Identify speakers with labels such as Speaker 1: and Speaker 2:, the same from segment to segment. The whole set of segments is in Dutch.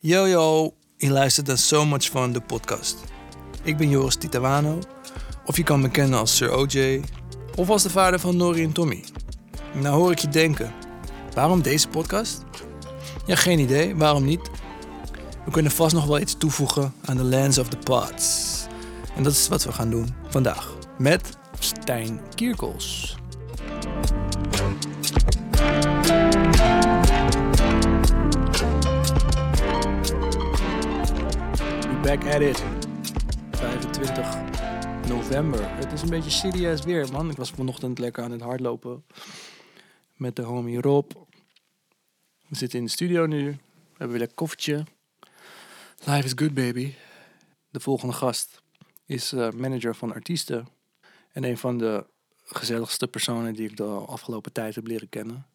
Speaker 1: Yo yo, je luistert naar So Much Fun, de podcast. Ik ben Joris Titawano, of je kan me kennen als Sir OJ, of als de vader van Nori en Tommy. Nou hoor ik je denken, waarom deze podcast? Ja, geen idee, waarom niet? We kunnen vast nog wel iets toevoegen aan de Lands of the Pods. En dat is wat we gaan doen vandaag, met Stijn Kierkels. We back at it. 25 november. Het is een beetje serieus weer, man. Ik was vanochtend lekker aan het hardlopen met de homie Rob. We zitten in de studio nu. We hebben weer een koffertje. Life is good, baby. De volgende gast is eh, manager van artiesten. En een van de gezelligste personen die ik de afgelopen tijd heb leren kennen.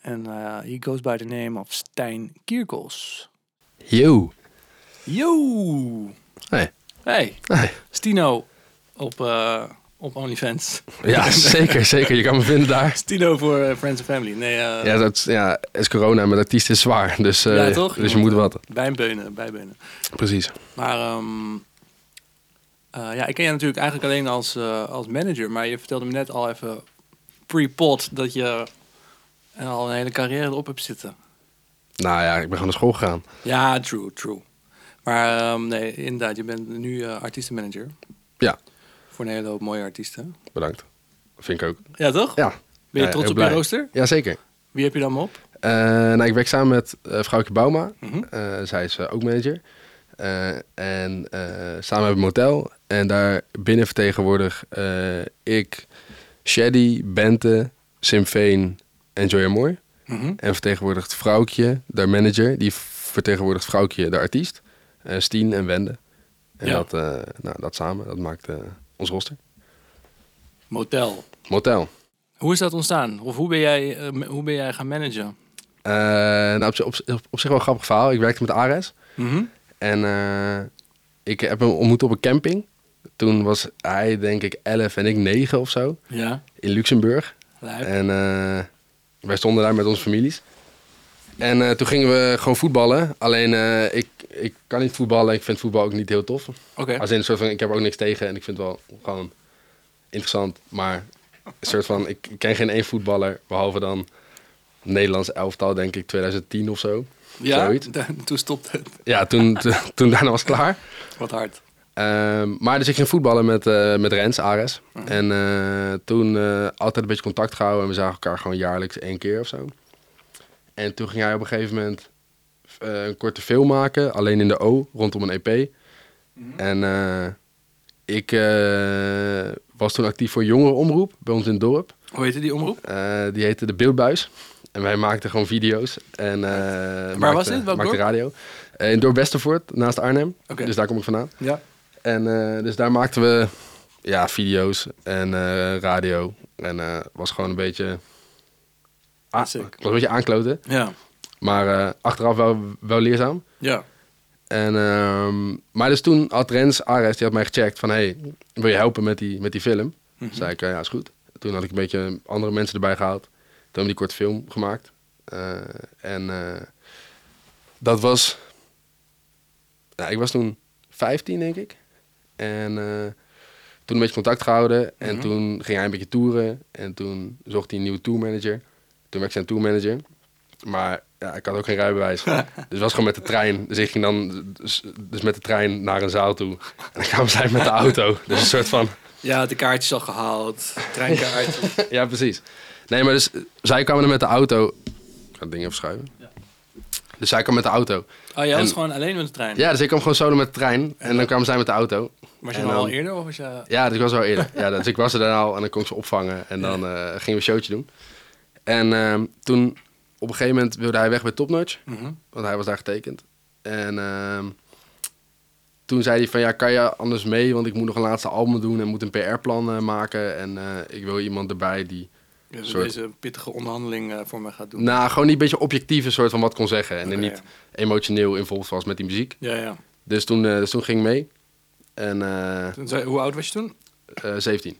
Speaker 1: En eh he goes by the name of Stijn Kierkels.
Speaker 2: Yo.
Speaker 1: Yo!
Speaker 2: Hey.
Speaker 1: Hey,
Speaker 2: Hey.
Speaker 1: Stino op, eh, op OnlyFans.
Speaker 2: Ja, zeker, zeker. Je kan me vinden daar.
Speaker 1: Stino voor eh, Friends and Family. Nee, eh
Speaker 2: Ja, dat ja, is corona, maar artiest is zwaar. Dus, eh,
Speaker 1: Ja, toch?
Speaker 2: dus je moet wat.
Speaker 1: bijbeunen, bijbeunen.
Speaker 2: Precies.
Speaker 1: Maar ehm, eh, ja, ik ken je natuurlijk eigenlijk alleen als, eh, als manager. Maar je vertelde me net al even pre-pod dat je eh, al een hele carrière erop hebt zitten.
Speaker 2: Nou ja, ik ben gewoon naar school gegaan.
Speaker 1: Ja, true, true. Maar ehm, nee, inderdaad, je bent nu eh, artiestenmanager.
Speaker 2: Ja.
Speaker 1: Voor een hele hoop mooie artiesten.
Speaker 2: Bedankt. Vind ik ook.
Speaker 1: Ja, toch?
Speaker 2: Ja.
Speaker 1: Ben je
Speaker 2: Ja,
Speaker 1: trots
Speaker 2: heel
Speaker 1: op je
Speaker 2: blij.
Speaker 1: rooster?
Speaker 2: Jazeker.
Speaker 1: Wie heb je dan op?
Speaker 2: Eh nou, ik werk samen met eh vrouwtje Bouma.
Speaker 1: Mhm.
Speaker 2: Eh, zij is eh, ook manager. Eh, en eh, samen hebben we een motel. En daar binnen vertegenwoordig eh, ik, Shady, Bente, Simveen en Joy Mooi.
Speaker 1: Mhm.
Speaker 2: En vertegenwoordigt Vrouwkje, de manager. Die vertegenwoordigt Vrouwkje, de artiest. Eh Stien en Wende. En
Speaker 1: Ja.
Speaker 2: dat, eh, nou, dat samen, dat maakt eh, ons roster.
Speaker 1: Motel.
Speaker 2: Motel.
Speaker 1: Hoe is dat ontstaan? Of hoe ben jij, eh, me- hoe ben jij gaan managen?
Speaker 2: Eh, nou, op, zi- op, zi- op, zich wel een grappig verhaal. Ik werkte met Ares. Mhm. En eh, ik heb hem ontmoet op een camping. Toen was hij denk ik 11 en ik 9 of zo.
Speaker 1: Ja,
Speaker 2: In Luxemburg.
Speaker 1: lijp.
Speaker 2: En eh, wij stonden daar met onze families. En eh, toen gingen we gewoon voetballen. Alleen eh, ik, ik kan niet voetballen. Ik vind voetbal ook niet heel tof.
Speaker 1: Oké.
Speaker 2: Als in een soort van, ik heb er ook niks tegen. En ik vind het wel gewoon interessant. Maar een soort van, ik ken geen één voetballer. Behalve dan Nederlands elftal, denk ik, 2010 of zo.
Speaker 1: Ja,
Speaker 2: zoiets.
Speaker 1: toen stopt het.
Speaker 2: Ja, toen, toen, toen daarna was het klaar.
Speaker 1: Wat hard.
Speaker 2: Ehm, maar dus ik ging voetballen met, eh, met Rens, Ares.
Speaker 1: Mhm.
Speaker 2: En eh, toen eh, altijd een beetje contact gehouden. En we zagen elkaar gewoon jaarlijks één keer of zo. En toen ging hij op een gegeven moment eh, een korte film maken. Alleen in de O, rondom een EP.
Speaker 1: Mm-hmm.
Speaker 2: En eh, ik eh, was toen actief voor jongerenomroep bij ons in het dorp.
Speaker 1: Hoe heette die omroep?
Speaker 2: Eh, die heette De Beeldbuis. En wij maakten gewoon video's. En, eh, maakten-
Speaker 1: was dit? Welk
Speaker 2: maakten
Speaker 1: dorp?
Speaker 2: radio. Eh, in Dorp Westervoort, naast Arnhem.
Speaker 1: Oké.
Speaker 2: Dus daar kom ik vandaan.
Speaker 1: Ja.
Speaker 2: En eh, dus daar maakten we ja, video's en eh, radio. En eh, was gewoon een beetje. Ah, was
Speaker 1: Sick.
Speaker 2: een beetje aankloten.
Speaker 1: Ja.
Speaker 2: Maar eh, achteraf wel, wel leerzaam.
Speaker 1: Ja.
Speaker 2: En, ehm, maar dus toen had Rens Ares, die had mij gecheckt van... hey, wil je helpen met die, met die film?
Speaker 1: Mhm.
Speaker 2: zei ik, eh, ja, is goed. Toen had ik een beetje andere mensen erbij gehaald. Toen hebben we die korte film gemaakt. Eh, en eh, dat was... Nou, ik was toen 15, denk ik. En eh, toen een beetje contact gehouden. En
Speaker 1: Mhm.
Speaker 2: toen ging hij een beetje toeren. En toen zocht hij een nieuwe tourmanager. Toen werd ik zijn tourmanager. Maar ja, ik had ook geen rijbewijs. dus het was gewoon met de trein. Dus ik ging dan dus, dus met de trein naar een zaal toe. En dan kwamen zij met de auto. Dus een soort van...
Speaker 1: Ja, de kaartjes al gehaald. Treinkaart.
Speaker 2: Ja, precies. Nee, maar dus eh, zij kwamen er met de auto. Ik ga dingen verschuiven. Dus zij kwam met de auto.
Speaker 1: Oh, jij was
Speaker 2: En-
Speaker 1: gewoon alleen met de trein?
Speaker 2: Ja, dus ik kwam gewoon solo met de trein. En dan kwamen zij met de auto.
Speaker 1: Was je
Speaker 2: En
Speaker 1: dan al
Speaker 2: dan-
Speaker 1: eerder of was je...
Speaker 2: Ja, dus ik was wel eerder. Ja, dus ik was er dan al en dan kon ik ze opvangen. En dan eh, gingen we een showtje doen. En ehm, toen, op een gegeven moment wilde hij weg bij Topnotch.
Speaker 1: Mhm.
Speaker 2: Want hij was daar getekend. En ehm, toen zei hij van, ja, kan je anders mee? Want ik moet nog een laatste album doen en moet een PR-plan eh, maken. En eh, ik wil iemand erbij die
Speaker 1: Ja, dat
Speaker 2: Soort-
Speaker 1: deze pittige onderhandeling eh, voor me gaat doen.
Speaker 2: Nou, gewoon niet een beetje objectief een soort van wat kon zeggen. En er
Speaker 1: Oké,
Speaker 2: niet emotioneel involved was met die muziek.
Speaker 1: Ja, ja. ja.
Speaker 2: Dus toen, eh, dus toen ging ik mee. En eh,
Speaker 1: Toen zei- hoe oud was je toen?
Speaker 2: eh, 17.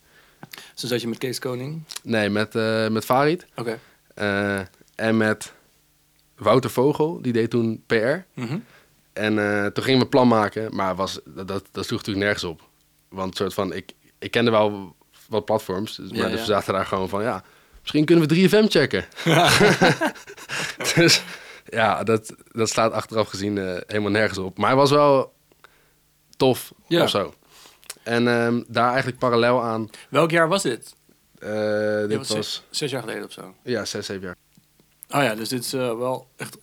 Speaker 1: Toen zat je met Kees Koning.
Speaker 2: Nee, met, eh, met Farid.
Speaker 1: Oké.
Speaker 2: eh, en met Wouter Vogel, die deed toen PR.
Speaker 1: Mhm.
Speaker 2: En eh, toen gingen we een plan maken, maar was, dat, dat, dat sloeg natuurlijk nergens op. Want soort van, ik, ik kende wel wat platforms, dus, maar
Speaker 1: Ja,
Speaker 2: dus we
Speaker 1: ja.
Speaker 2: zaten daar gewoon van, ja, misschien kunnen we 3FM checken. dus ja, dat, dat slaat achteraf gezien eh, helemaal nergens op. Maar hij was wel tof
Speaker 1: Ja.
Speaker 2: of zo. En ehm, daar eigenlijk parallel aan,
Speaker 1: Welk jaar was dit?
Speaker 2: eh, dit
Speaker 1: Dit
Speaker 2: was,
Speaker 1: was zes, zes jaar geleden of zo.
Speaker 2: ja, zes, zeven jaar.
Speaker 1: Oh ja, dus dit is eh, wel echt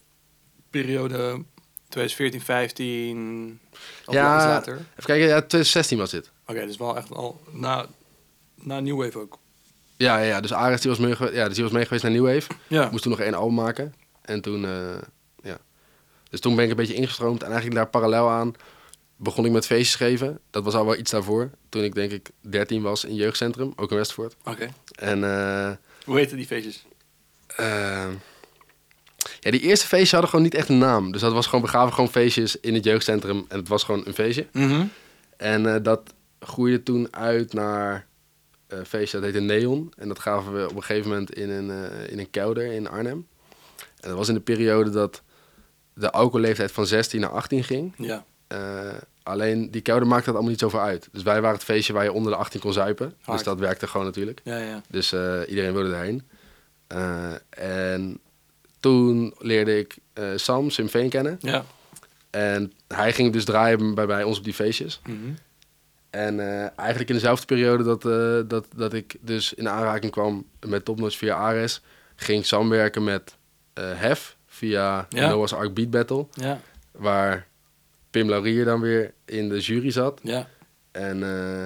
Speaker 1: periode 2014, 15, of
Speaker 2: Ja.
Speaker 1: iets later. Oké,
Speaker 2: Even kijken, ja, 2016 was dit.
Speaker 1: dus wel echt al na, na New Wave ook.
Speaker 2: Ja, ja, ja, dus Ares die was mee, gewe- ja, dus die was mee geweest naar New Wave.
Speaker 1: Ja.
Speaker 2: Ik moest toen nog één album maken. En toen, eh, ja. Dus toen ben ik een beetje ingestroomd. En eigenlijk daar parallel aan begon ik met feestjes geven. Dat was al wel iets daarvoor. Toen ik denk ik 13 was in jeugdcentrum, ook in Westvoort.
Speaker 1: Oké.
Speaker 2: En eh,
Speaker 1: Hoe heette die feestjes?
Speaker 2: eh, ja, die eerste feestjes hadden gewoon niet echt een naam. Dus dat was gewoon, we gaven gewoon feestjes in het jeugdcentrum. En het was gewoon een feestje.
Speaker 1: Mhm.
Speaker 2: En eh, dat groeide toen uit naar een feestje dat heette Neon. En dat gaven we op een gegeven moment in een, eh, in een kelder in Arnhem. En dat was in de periode dat de alcoholleeftijd van 16 naar 18 ging.
Speaker 1: Ja.
Speaker 2: Eh, alleen die kelder maakte dat allemaal niet zoveel uit. Dus wij waren het feestje waar je onder de 18 kon zuipen.
Speaker 1: Hard.
Speaker 2: Dus dat werkte gewoon natuurlijk.
Speaker 1: Ja, ja.
Speaker 2: Dus eh, iedereen wilde erheen. Eh, en toen leerde ik eh, Sam, Sim Veen kennen.
Speaker 1: Ja.
Speaker 2: En hij ging dus draaien bij, bij ons op die feestjes.
Speaker 1: Mhm.
Speaker 2: En eh, eigenlijk in dezelfde periode dat, eh, dat, dat ik dus in aanraking kwam met Topnotch via Ares, ging ik samenwerken met eh, Hef via
Speaker 1: Ja.
Speaker 2: Noah's Ark Beat Battle,
Speaker 1: Ja.
Speaker 2: waar Pim Laurier dan weer in de jury zat.
Speaker 1: Ja.
Speaker 2: En eh,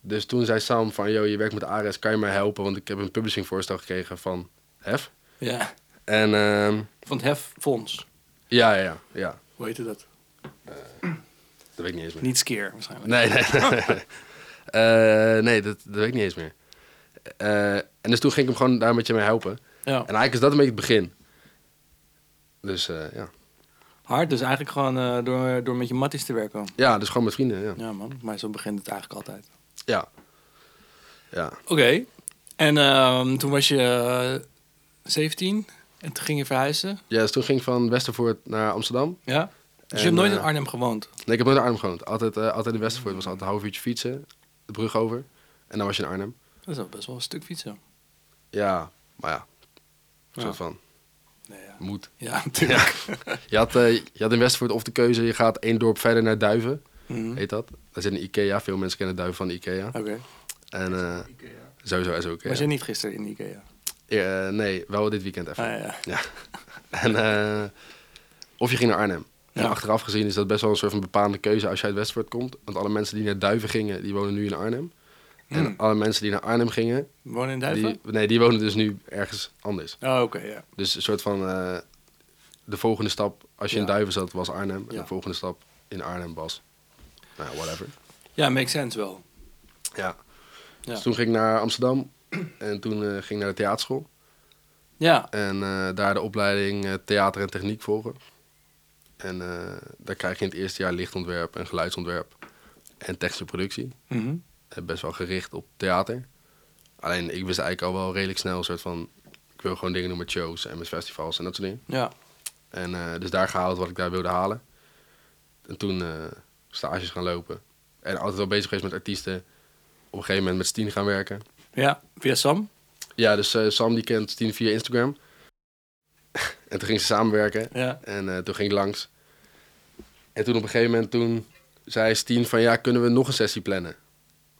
Speaker 2: dus toen zei Sam van, yo, je werkt met Ares, kan je mij helpen? Want ik heb een publishingvoorstel gekregen van Hef.
Speaker 1: Ja.
Speaker 2: En ehm,
Speaker 1: Van het Hef Fonds.
Speaker 2: ja, ja, ja, ja,
Speaker 1: Hoe heette dat?
Speaker 2: dat weet ik niet eens meer.
Speaker 1: Niet Skeer waarschijnlijk.
Speaker 2: Nee, nee. Eh, nee, dat, dat weet ik niet eens meer. Eh, en dus toen ging ik hem gewoon daar met je mee helpen.
Speaker 1: Ja.
Speaker 2: En eigenlijk is dat een beetje het begin. Dus eh, ja.
Speaker 1: Hard, dus eigenlijk gewoon eh, door, door met je matties te werken.
Speaker 2: Ja, dus gewoon met vrienden. Ja.
Speaker 1: Ja man, maar zo begint het eigenlijk altijd.
Speaker 2: Ja. ja.
Speaker 1: Oké. En ehm, toen was je eh, 17 en toen ging je verhuizen.
Speaker 2: Ja, dus toen ging ik van Westervoort naar Amsterdam.
Speaker 1: Ja? Dus je
Speaker 2: En,
Speaker 1: hebt nooit
Speaker 2: eh,
Speaker 1: in Arnhem gewoond?
Speaker 2: Nee, ik heb nooit in Arnhem gewoond. Altijd, eh, altijd in Westervoort. Het was altijd een half uurtje fietsen, de brug over. En dan was je in Arnhem.
Speaker 1: Dat is wel best wel een stuk fietsen.
Speaker 2: Ja, maar ja.
Speaker 1: Ja.
Speaker 2: Een soort van
Speaker 1: Nee, ja.
Speaker 2: moed.
Speaker 1: ja, natuurlijk.
Speaker 2: Je had, eh, je had in Westervoort of de keuze, je gaat één dorp verder naar Duiven.
Speaker 1: Mhm.
Speaker 2: Heet dat? Daar zit een Ikea. Veel mensen kennen Duiven van de Ikea.
Speaker 1: Oké.
Speaker 2: En eh, sowieso is ook. eh,
Speaker 1: Was jij niet gisteren in de Ikea?
Speaker 2: nee, wel dit weekend even.
Speaker 1: Ah, ja.
Speaker 2: Ja. En, eh, of je ging naar Arnhem. En
Speaker 1: Ja.
Speaker 2: achteraf gezien is dat best wel een soort van bepaalde keuze als je uit Westvoort komt. Want alle mensen die naar Duiven gingen, die wonen nu in Arnhem. En alle mensen die naar Arnhem gingen,
Speaker 1: We wonen in Hm. Duiven?
Speaker 2: die, nee, die wonen dus nu ergens anders.
Speaker 1: Oh, oké, ja.
Speaker 2: Dus een soort van eh, de volgende stap, als je
Speaker 1: Ja.
Speaker 2: in Duiven zat, was Arnhem. En
Speaker 1: Ja.
Speaker 2: de volgende stap in Arnhem was, nou ja, whatever.
Speaker 1: Ja, makes sense wel.
Speaker 2: Ja.
Speaker 1: Ja.
Speaker 2: Dus toen ging ik naar Amsterdam en toen eh, ging ik naar de theaterschool.
Speaker 1: Ja.
Speaker 2: En eh, daar de opleiding eh, theater en techniek volgen. En eh, daar krijg je in het eerste jaar lichtontwerp en geluidsontwerp en technische productie.
Speaker 1: Mhm.
Speaker 2: Eh, best wel gericht op theater. Alleen ik wist eigenlijk al wel redelijk snel een soort van... Ik wil gewoon dingen doen met shows en met festivals en dat soort dingen.
Speaker 1: Ja.
Speaker 2: En eh, dus daar gehaald wat ik daar wilde halen. En toen eh, stages gaan lopen. En altijd wel bezig geweest met artiesten. Op een gegeven moment met Stien gaan werken.
Speaker 1: Ja, via Sam.
Speaker 2: Ja, dus eh, Sam die kent Stien via Instagram. en toen ging ze samenwerken.
Speaker 1: Ja.
Speaker 2: En eh, toen ging ik langs. En toen op een gegeven moment toen zei Stien van ja, kunnen we nog een sessie plannen?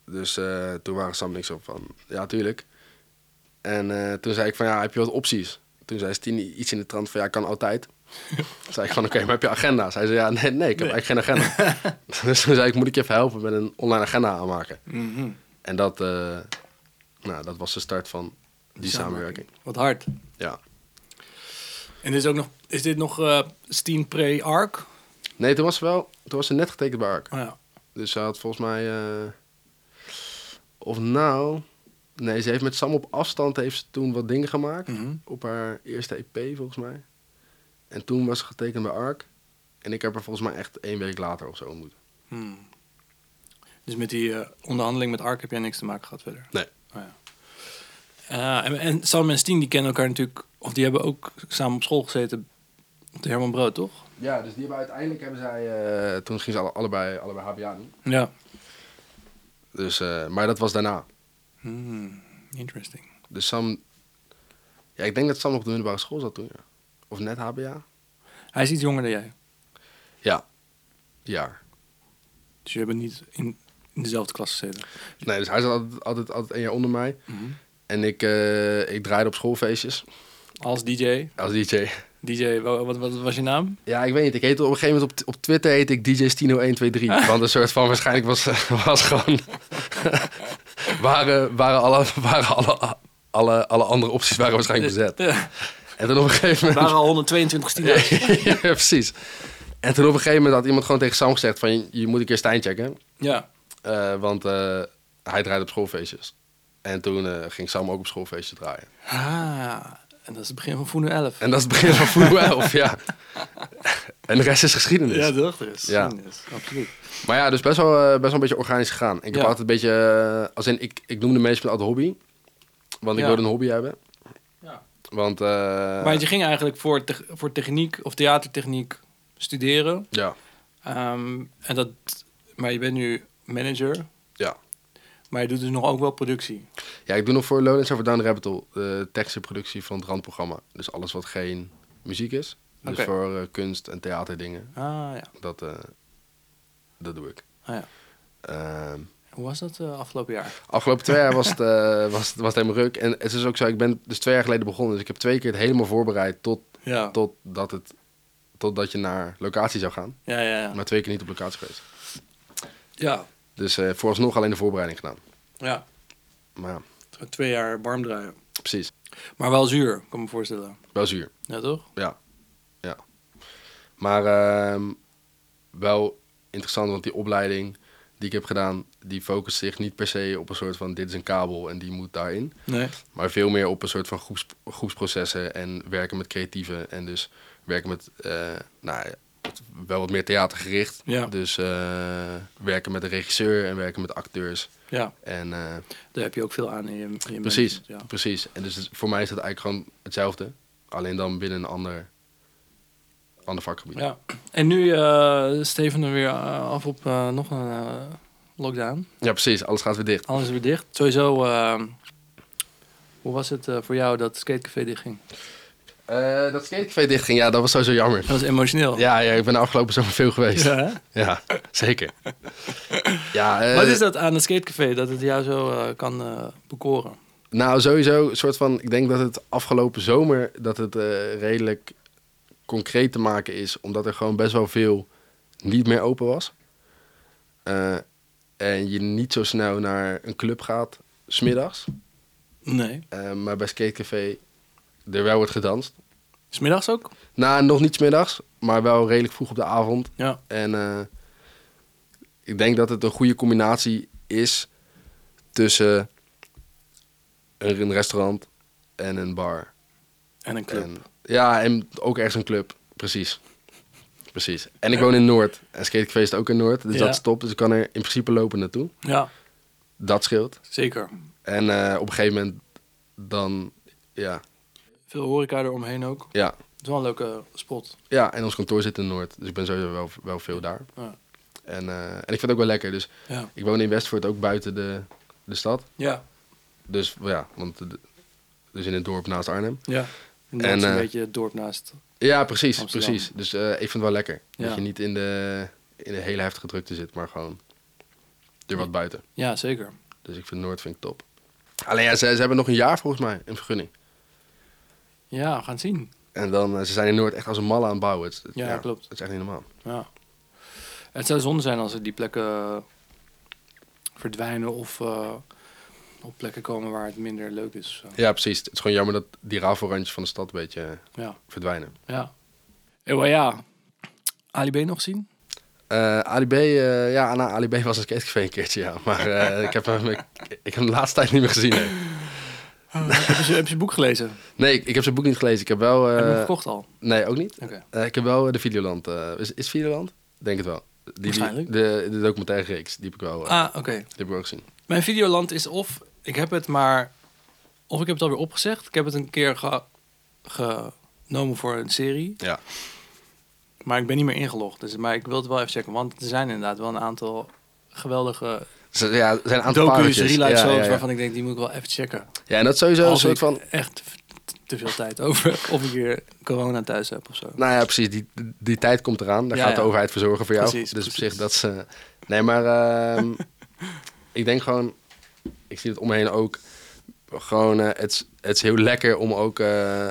Speaker 2: Dus eh, toen waren Sam en ik zo van ja, tuurlijk. En eh, toen zei ik van ja, heb je wat opties? Toen zei Stien iets in de trant van ja, kan altijd. Toen zei ik van oké, maar heb je agenda? Zij zei ja, nee, nee, ik heb
Speaker 1: Nee.
Speaker 2: eigenlijk geen agenda. dus toen zei ik moet ik je even helpen met een online agenda aanmaken.
Speaker 1: Mhm.
Speaker 2: En dat, eh, nou, dat was de start van die samenwerking.
Speaker 1: Wat hard.
Speaker 2: Ja.
Speaker 1: En dit is ook nog, is dit nog eh Steam Pre-Arc?
Speaker 2: Nee, toen was ze wel, toen was ze net getekend bij Ark.
Speaker 1: Oh, ja.
Speaker 2: Dus ze had volgens mij. eh, of nou. Nee, ze heeft met Sam op afstand heeft ze toen wat dingen gemaakt.
Speaker 1: Mhm.
Speaker 2: Op haar eerste EP volgens mij. En toen was ze getekend bij Ark. En ik heb haar volgens mij echt één week later of zo ontmoet.
Speaker 1: Hmm. Dus met die eh, onderhandeling met Ark heb jij niks te maken gehad verder?
Speaker 2: Nee.
Speaker 1: Oh, ja. Eh, en, en Sam en Steen die kennen elkaar natuurlijk, of die hebben ook samen op school gezeten De Herman Brood, toch?
Speaker 2: Ja, dus die hebben uiteindelijk hebben zij. eh, toen gingen ze alle- allebei, allebei HBA doen.
Speaker 1: Ja.
Speaker 2: Dus, eh, maar dat was daarna.
Speaker 1: Hmm, interesting.
Speaker 2: Dus Sam. Ja, ik denk dat Sam nog op de middelbare school zat toen, ja. Of net HBA?
Speaker 1: Hij is iets jonger dan jij.
Speaker 2: Ja. Jaar.
Speaker 1: Dus jullie hebben niet in, in dezelfde klas gezeten.
Speaker 2: Nee, dus hij zat altijd, altijd, altijd een jaar onder mij.
Speaker 1: Mhm.
Speaker 2: En ik, eh, ik draaide op schoolfeestjes
Speaker 1: Als DJ.
Speaker 2: als DJ.
Speaker 1: DJ, wa- wat, wat was je naam?
Speaker 2: Ja, ik weet niet. Ik heette op een gegeven moment op, op Twitter heet ik DJ Stino 123. Want een soort van waarschijnlijk was, was gewoon. waren, waren, alle, waren alle, alle, alle andere opties waren waarschijnlijk bezet.
Speaker 1: Ja.
Speaker 2: En toen op een gegeven moment.
Speaker 1: al 122 studenten.
Speaker 2: ja, precies. En toen op een gegeven moment had iemand gewoon tegen Sam gezegd van... je moet een keer Stijn checken,
Speaker 1: Ja.
Speaker 2: eh, want eh, hij draait op schoolfeestjes. En toen eh, ging Sam ook op schoolfeestjes draaien.
Speaker 1: Ah, en dat is het begin van Voenu 11.
Speaker 2: En dat is het begin van Voodoo 11, ja. En de rest is geschiedenis.
Speaker 1: Ja, toch? Er is
Speaker 2: Ja.
Speaker 1: geschiedenis, absoluut.
Speaker 2: Maar ja, dus best wel, eh, best wel een beetje organisch gegaan. Ik heb
Speaker 1: Ja.
Speaker 2: altijd een beetje... eh, als in, ik, ik noemde mensen altijd hobby. Want ik
Speaker 1: Ja.
Speaker 2: wilde een hobby hebben.
Speaker 1: Ja.
Speaker 2: Want... eh,
Speaker 1: Maar je ging eigenlijk voor, te- voor techniek of theatertechniek studeren.
Speaker 2: Ja,
Speaker 1: Ehm, en dat, maar je bent nu manager,
Speaker 2: ja.
Speaker 1: maar je doet dus nog ook wel productie.
Speaker 2: Ja, ik doe nog voor Lowlands Over Down the Rabbit Hole. De tekst productie van het randprogramma. Dus alles wat geen muziek is. Dus
Speaker 1: Oké.
Speaker 2: voor eh, kunst en theaterdingen.
Speaker 1: Ah ja.
Speaker 2: Dat, eh, dat doe ik.
Speaker 1: Ah, ja.
Speaker 2: Ehm,
Speaker 1: Hoe was dat eh, afgelopen jaar?
Speaker 2: afgelopen twee jaar was het, eh, was, het- was het helemaal ruk. En het is ook zo, ik ben dus twee jaar geleden begonnen. Dus ik heb twee keer het helemaal voorbereid tot,
Speaker 1: Ja.
Speaker 2: totdat, het, totdat je naar locatie zou gaan.
Speaker 1: Ja, ja, ja.
Speaker 2: Maar twee keer niet op locatie geweest.
Speaker 1: Ja.
Speaker 2: Dus eh, vooralsnog alleen de voorbereiding gedaan.
Speaker 1: ja.
Speaker 2: Maar ja,
Speaker 1: Twee jaar warm draaien.
Speaker 2: precies.
Speaker 1: Maar wel zuur, kan ik me voorstellen.
Speaker 2: Wel zuur.
Speaker 1: Ja, toch?
Speaker 2: Ja, ja. Maar ehm, wel interessant, want die opleiding die ik heb gedaan, die focust zich niet per se op een soort van dit is een kabel en die moet daarin.
Speaker 1: Nee.
Speaker 2: Maar veel meer op een soort van groeps, groepsprocessen en werken met creatieven. En dus werken met, eh, nou ja, het- wel wat meer theatergericht.
Speaker 1: Ja.
Speaker 2: Dus eh, werken met de regisseur en werken met acteurs.
Speaker 1: Ja,
Speaker 2: En, eh,
Speaker 1: daar heb je ook veel aan in je, in je
Speaker 2: precies,
Speaker 1: management, Ja.
Speaker 2: precies. En dus het- voor mij is dat eigenlijk gewoon hetzelfde. Alleen dan binnen een ander, ander vakgebied.
Speaker 1: Ja, en nu eh steven we weer eh, af op eh, nog een eh, lockdown.
Speaker 2: Ja, precies. Alles gaat weer dicht.
Speaker 1: Alles is weer dicht. Sowieso, eh, hoe was het eh, voor jou dat skatecafé dichtging?
Speaker 2: Eh, dat skatecafé dichtging, ja, dat was sowieso jammer.
Speaker 1: Dat was emotioneel.
Speaker 2: Ja, ja, ik ben de afgelopen zomer veel geweest. Ja,
Speaker 1: Ja, hè?
Speaker 2: zeker. ja, eh,
Speaker 1: Wat is dat aan het skatecafé dat het jou zo eh, kan eh, bekoren?
Speaker 2: Nou, sowieso een soort van... Ik denk dat het afgelopen zomer dat het eh, redelijk concreet te maken is. Omdat er gewoon best wel veel niet meer open was. Eh, en je niet zo snel naar een club gaat, smiddags.
Speaker 1: Nee.
Speaker 2: Eh maar bij skatecafé er wel wordt gedanst.
Speaker 1: Smiddags ook?
Speaker 2: Nou, nog niet smiddags, maar wel redelijk vroeg op de avond.
Speaker 1: Ja.
Speaker 2: En eh, ik denk dat het een goede combinatie is tussen een een restaurant en een bar.
Speaker 1: En een club.
Speaker 2: En, ja, en ook ergens een club. Precies. Precies. En ik woon in Noord. En skatecafé is ook in Noord. Dus
Speaker 1: Ja.
Speaker 2: dat stopt. Dus ik kan er in principe lopen naartoe.
Speaker 1: Ja,
Speaker 2: Dat scheelt.
Speaker 1: zeker.
Speaker 2: En eh, op een gegeven moment dan... Ja,
Speaker 1: Veel horeca eromheen ook.
Speaker 2: ja.
Speaker 1: Het is wel een leuke spot.
Speaker 2: Ja, en ons kantoor zit in Noord. Dus ik ben sowieso wel, wel veel daar.
Speaker 1: Ja.
Speaker 2: En, eh, en ik vind het ook wel lekker. Dus
Speaker 1: Ja.
Speaker 2: ik woon in Westvoort, ook buiten de, de stad.
Speaker 1: Ja.
Speaker 2: Dus ja, want de- dus in het dorp naast Arnhem.
Speaker 1: ja. En,
Speaker 2: En,
Speaker 1: dat is een
Speaker 2: eh,
Speaker 1: beetje het dorp naast.
Speaker 2: Ja, precies,
Speaker 1: Amsterdam.
Speaker 2: precies. Dus eh, ik vind het wel lekker.
Speaker 1: Ja.
Speaker 2: Dat je niet in de, in de hele heftige drukte zit, maar gewoon er wat buiten.
Speaker 1: Ja, zeker.
Speaker 2: Dus ik vind Noord vind ik top. Alleen ja, ze, ze hebben nog een jaar volgens mij een vergunning.
Speaker 1: Ja, we gaan het zien.
Speaker 2: En dan, eh, ze zijn in Noord echt als een malle aan het bouwen. Het, het-
Speaker 1: Ja, klopt.
Speaker 2: Het is echt niet normaal.
Speaker 1: Ja. Het zou zonde zijn als er die plekken eh, verdwijnen of eh, op plekken komen waar het minder leuk is. of zo.
Speaker 2: Ja, precies. Het is gewoon jammer dat die rafelrandjes van de stad een beetje eh,
Speaker 1: Ja,
Speaker 2: verdwijnen.
Speaker 1: ja. Ewa, ja. Ali B nog zien?
Speaker 2: Eh Ali B, eh, ja, na Ali B was een skatecafé een keertje, ja. Maar eh, ik, heb hem, ik, ik heb hem de laatste tijd niet meer gezien. nee.
Speaker 1: heb, je, zijn- heb je zijn boek gelezen?
Speaker 2: Nee, ik, ik heb zijn boek niet gelezen. Ik heb wel... eh,
Speaker 1: heb je hem gekocht al?
Speaker 2: Nee, ook niet.
Speaker 1: Oké.
Speaker 2: Eh, ik heb wel eh, de Videoland. eh, is, is Videoland? Denk het wel. Die- Die,
Speaker 1: Waarschijnlijk.
Speaker 2: De, de documentaire reeks, die heb ik wel, eh,
Speaker 1: Ah, oké.
Speaker 2: die heb ik wel gezien.
Speaker 1: Mijn videoland is of ik heb het maar... Of ik heb het alweer opgezegd. Ik heb het een keer ge- genomen voor een serie.
Speaker 2: Ja.
Speaker 1: Maar ik ben niet meer ingelogd. Dus, maar ik wil het wel even checken. Want er zijn inderdaad wel een aantal geweldige
Speaker 2: Dus, ja, er zijn een aantal
Speaker 1: docu's,
Speaker 2: pareltjes.
Speaker 1: real-life
Speaker 2: ja,
Speaker 1: shows...
Speaker 2: ja, ja.
Speaker 1: waarvan ik denk, die moet ik wel even checken.
Speaker 2: Ja, en dat is sowieso een
Speaker 1: Als
Speaker 2: soort
Speaker 1: ik
Speaker 2: van...
Speaker 1: echt t- te veel tijd over heb. Of ik weer corona thuis heb of zo.
Speaker 2: Nou ja, precies. Die, die tijd komt eraan. Daar
Speaker 1: Ja,
Speaker 2: gaat de
Speaker 1: ja.
Speaker 2: overheid voor zorgen voor jou.
Speaker 1: Precies,
Speaker 2: dus op
Speaker 1: precies.
Speaker 2: zich, dat is... eh, nee, maar ehm, ik denk gewoon... Ik zie het omheen ook. Gewoon, eh, het, is- het is heel lekker om ook... eh,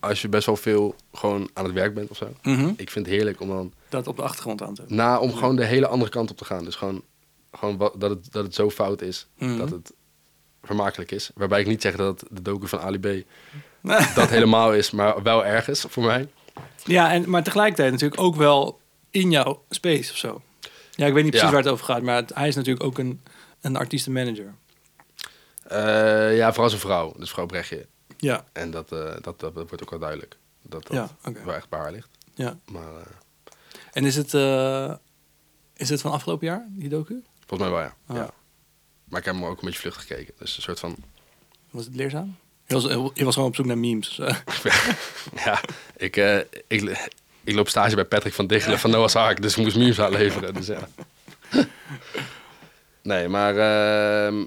Speaker 2: als je best wel veel gewoon aan het werk bent of zo.
Speaker 1: Mhm.
Speaker 2: Ik vind het heerlijk om dan...
Speaker 1: Dat op de achtergrond aan te hebben.
Speaker 2: Na, om gewoon de hele andere kant op te gaan. Dus gewoon, gewoon wat, dat, het, dat het zo fout is.
Speaker 1: Mhm.
Speaker 2: Dat het vermakelijk is. Waarbij ik niet zeg dat de docu van Ali B... dat helemaal is, maar wel ergens voor mij.
Speaker 1: Ja, en, maar tegelijkertijd natuurlijk ook wel in jouw space of zo. Ja, ik weet niet precies
Speaker 2: Ja.
Speaker 1: waar het over gaat, maar het- hij is natuurlijk ook een, een artiestenmanager.
Speaker 2: Eh, ja, vooral zijn vrouw. Dus vrouw Brechtje.
Speaker 1: Ja,
Speaker 2: En dat, eh, dat, dat, dat wordt ook wel duidelijk. Dat dat
Speaker 1: Ja, oké.
Speaker 2: wel echt bij haar ligt.
Speaker 1: ja.
Speaker 2: Maar eh,
Speaker 1: En is het, eh, is het van afgelopen jaar, die docu?
Speaker 2: volgens mij wel, ja.
Speaker 1: Ah.
Speaker 2: ja. Maar ik heb hem ook een beetje vlucht gekeken. Dus een soort van...
Speaker 1: Was het leerzaam? Je was, je was gewoon op zoek naar memes. of zo.
Speaker 2: ja, ik, eh, ik, ik loop stage bij Patrick van Dichelen van Noah's Ark. Dus ik moest memes aanleveren. Dus ja. nee, maar ehm,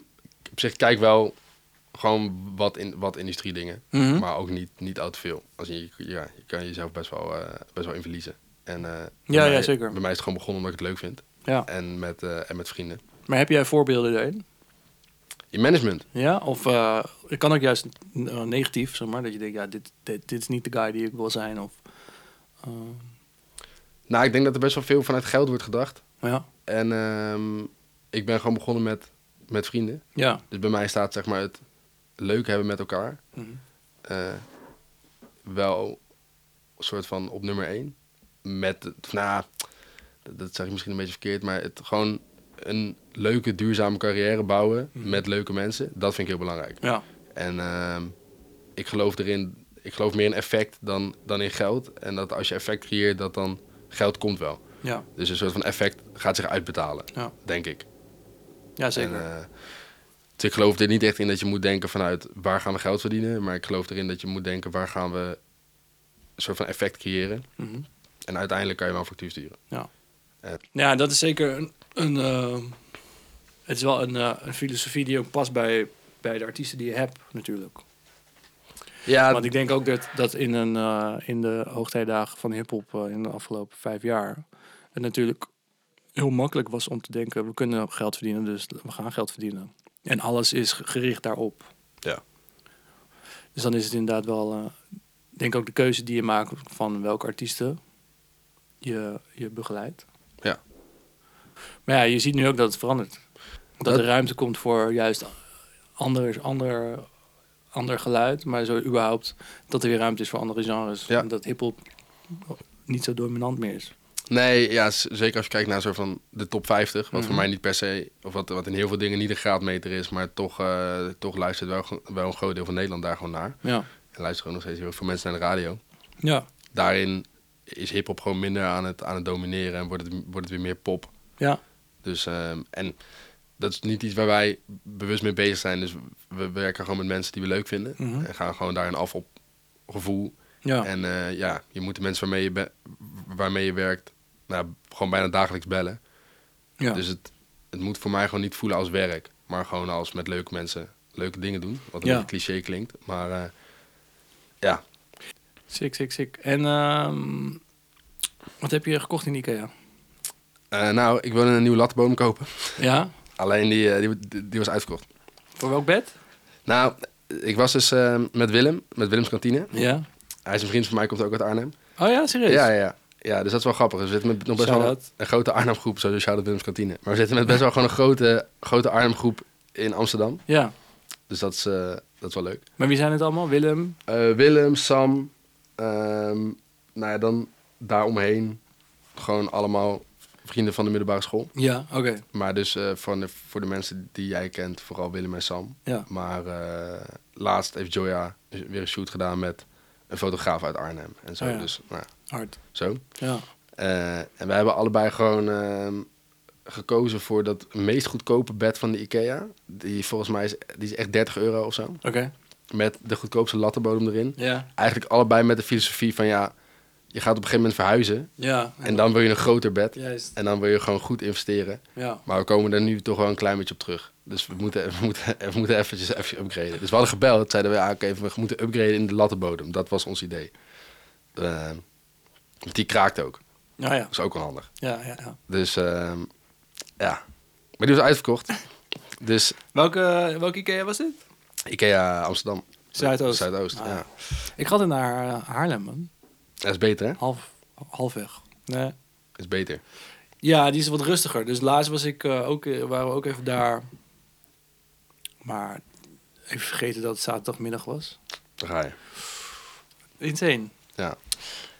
Speaker 2: op zich kijk wel gewoon wat, in, wat industrie dingen.
Speaker 1: Mhm.
Speaker 2: Maar ook niet, niet al te veel. Als je, ja, je kan jezelf best wel, eh, best wel in verliezen. En, eh, bij
Speaker 1: ja,
Speaker 2: mij-
Speaker 1: zeker.
Speaker 2: Bij mij is het gewoon begonnen omdat ik het leuk vind.
Speaker 1: ja.
Speaker 2: En met, eh, en met vrienden.
Speaker 1: Maar heb jij voorbeelden daarin?
Speaker 2: In management.
Speaker 1: Ja, of eh, het kan ook juist eh, negatief, zeg maar. Dat je denkt, ja, dit, dit, dit is niet de guy die ik wil zijn. Of, eh,
Speaker 2: Nou, ik denk dat er best wel veel vanuit geld wordt gedacht.
Speaker 1: ja,
Speaker 2: En ehm, ik ben gewoon begonnen met, met vrienden.
Speaker 1: ja.
Speaker 2: Dus bij mij staat zeg maar het leuk hebben met elkaar
Speaker 1: Mhm.
Speaker 2: eh, wel een soort van op nummer één. Met, het- nou, dat, dat zeg ik misschien een beetje verkeerd, maar het gewoon een leuke, duurzame carrière bouwen met leuke mensen, dat vind ik heel belangrijk.
Speaker 1: ja.
Speaker 2: En ehm, ik geloof erin, ik geloof meer in effect dan, dan in geld. En dat als je effect creëert, dat dan geld komt wel.
Speaker 1: Ja,
Speaker 2: Dus een soort van effect gaat zich uitbetalen,
Speaker 1: Ja.
Speaker 2: denk ik.
Speaker 1: ja zeker.
Speaker 2: En, eh, dus ik geloof er niet echt in dat je moet denken vanuit waar gaan we geld verdienen. Maar ik geloof erin dat je moet denken waar gaan we een soort van effect creëren.
Speaker 1: Mhm.
Speaker 2: En uiteindelijk kan je wel een factuur sturen.
Speaker 1: Ja. Nou
Speaker 2: Eh.
Speaker 1: ja, dat is zeker een. een eh, het is wel een, eh, een filosofie die ook past bij, bij de artiesten die je hebt, natuurlijk.
Speaker 2: Ja,
Speaker 1: Want ik denk ook dat, dat in, een, eh, in de hoogtijdagen van hip-hop eh, in de afgelopen vijf jaar. het natuurlijk heel makkelijk was om te denken: we kunnen geld verdienen, dus we gaan geld verdienen. En alles is ge- gericht daarop.
Speaker 2: Ja.
Speaker 1: Dus dan is het inderdaad wel. eh, ik denk ook de keuze die je maakt van welke artiesten je, je begeleidt.
Speaker 2: Ja.
Speaker 1: Maar ja, je ziet nu ook dat het verandert. Dat,
Speaker 2: Dat-
Speaker 1: er ruimte komt voor juist ander, ander, ander geluid. Maar zo überhaupt dat er weer ruimte is voor andere genres.
Speaker 2: Ja.
Speaker 1: En dat hiphop niet zo dominant meer is.
Speaker 2: nee, ja, z- zeker als je kijkt naar zo van de top 50. Wat voor
Speaker 1: Mhm.
Speaker 2: mij niet per se, of wat, wat in heel veel dingen niet een graadmeter is. Maar toch, eh, toch luistert wel, ge- wel een groot deel van Nederland daar gewoon naar.
Speaker 1: Ja.
Speaker 2: En luistert gewoon nog steeds heel veel mensen naar de radio.
Speaker 1: Ja.
Speaker 2: Daarin is hip-hop gewoon minder aan het, aan het domineren en wordt het, wordt het weer meer pop.
Speaker 1: Ja.
Speaker 2: Dus, ehm, en dat is niet iets waar wij bewust mee bezig zijn. Dus we werken gewoon met mensen die we leuk vinden.
Speaker 1: Mhm.
Speaker 2: En gaan gewoon daarin af op gevoel.
Speaker 1: Ja.
Speaker 2: En eh, ja, je moet de mensen waarmee je, be- waarmee je werkt nou, gewoon bijna dagelijks bellen.
Speaker 1: ja.
Speaker 2: Dus het, het moet voor mij gewoon niet voelen als werk. Maar gewoon als met leuke mensen leuke dingen doen. Wat een
Speaker 1: Ja.
Speaker 2: beetje cliché klinkt. Maar eh, ja,
Speaker 1: Sick, sick, sick. En ehm, wat heb je gekocht in Ikea?
Speaker 2: Eh, nou, ik wilde een nieuwe lattenboom kopen.
Speaker 1: Ja?
Speaker 2: Alleen die, eh, die, die was uitverkocht.
Speaker 1: Voor welk bed?
Speaker 2: Nou, ik was dus eh, met Willem, met Willems kantine.
Speaker 1: Ja.
Speaker 2: Hij is een vriend van mij, komt ook uit Arnhem.
Speaker 1: Oh ja, serieus?
Speaker 2: Ja, ja, ja. Ja, dus dat is wel grappig. Dus we zitten met nog best wel
Speaker 1: Shout-out.
Speaker 2: een grote Arnhem-groep, zoals Shout-out Willems Kantine. Maar we zitten met best wel gewoon een grote, grote Arnhem-groep in Amsterdam.
Speaker 1: Ja.
Speaker 2: Dus dat is, eh, dat is wel leuk.
Speaker 1: Maar wie zijn het allemaal? Willem?
Speaker 2: Eh, Willem, Sam, ehm, nou ja, dan daaromheen gewoon allemaal vrienden van de middelbare school.
Speaker 1: Ja, oké.
Speaker 2: Maar dus eh, van de, voor de mensen die jij kent, vooral Willem en Sam.
Speaker 1: Ja.
Speaker 2: Maar eh, laatst heeft Joya weer een shoot gedaan met een fotograaf uit Arnhem. En zo,
Speaker 1: Oh ja.
Speaker 2: dus nou,
Speaker 1: Hard.
Speaker 2: zo.
Speaker 1: Ja.
Speaker 2: Eh, en wij hebben allebei gewoon ehm, gekozen voor dat meest goedkope bed van de IKEA. Die volgens mij is, die is echt 30 euro of zo.
Speaker 1: Oké.
Speaker 2: Met de goedkoopste lattenbodem erin.
Speaker 1: Ja.
Speaker 2: Eigenlijk allebei met de filosofie van ja, je gaat op een gegeven moment verhuizen.
Speaker 1: Ja,
Speaker 2: En dan wil je een groter bed.
Speaker 1: juist.
Speaker 2: En dan wil je gewoon goed investeren.
Speaker 1: Ja.
Speaker 2: Maar we komen daar nu toch wel een klein beetje op terug. Dus we moeten, we moeten, we moeten eventjes even upgraden. Dus we hadden gebeld. Zeiden we, ah, oké, we moeten upgraden in de lattenbodem. Dat was ons idee. Eh, want die kraakt ook.
Speaker 1: Ja, Oh ja.
Speaker 2: Dat is ook wel handig.
Speaker 1: ja, ja, ja.
Speaker 2: Dus ehm, ja. Maar die was uitverkocht. Dus
Speaker 1: Welke, welke IKEA was dit?
Speaker 2: Ikea Amsterdam.
Speaker 1: Zuidoost.
Speaker 2: Zuidoost,
Speaker 1: Ah,
Speaker 2: ja.
Speaker 1: Ik had het naar eh, Haarlem, man.
Speaker 2: Dat is beter, hè?
Speaker 1: Half, halfweg. Nee.
Speaker 2: Dat is beter.
Speaker 1: Ja, die is wat rustiger. Dus laatst was ik, eh, ook, eh, waren we ook even daar. Maar even vergeten dat het zaterdagmiddag was.
Speaker 2: Daar ga je.
Speaker 1: Insane.
Speaker 2: Ja.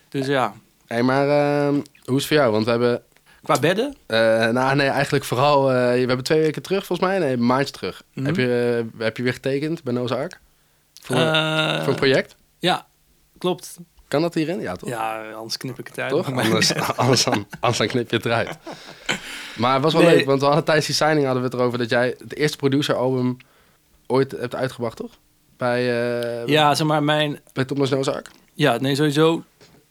Speaker 1: Dus ja,
Speaker 2: Hey, maar ehm, hoe is het voor jou? Want we hebben...
Speaker 1: qua bedden.
Speaker 2: eh, nou, nee, eigenlijk vooral... eh, we hebben twee weken terug, volgens mij. Nee, een maandje terug.
Speaker 1: Mhm.
Speaker 2: heb, je, eh, heb je weer getekend bij Noza Ark? Voor,
Speaker 1: eh,
Speaker 2: voor een project?
Speaker 1: ja, klopt.
Speaker 2: Kan dat hierin? Ja, toch?
Speaker 1: Ja, anders knip ik het uit.
Speaker 2: Toch?
Speaker 1: Maar-
Speaker 2: Anders, anders, dan, anders dan knip je het eruit. Maar het was wel
Speaker 1: Nee.
Speaker 2: leuk, want we hadden tijdens die signing hadden we het erover dat jij het eerste produceralbum ooit hebt uitgebracht, toch? Bij, eh
Speaker 1: Ja, zeg maar, mijn.
Speaker 2: bij Thomas Nozaak.
Speaker 1: Ja, nee, sowieso.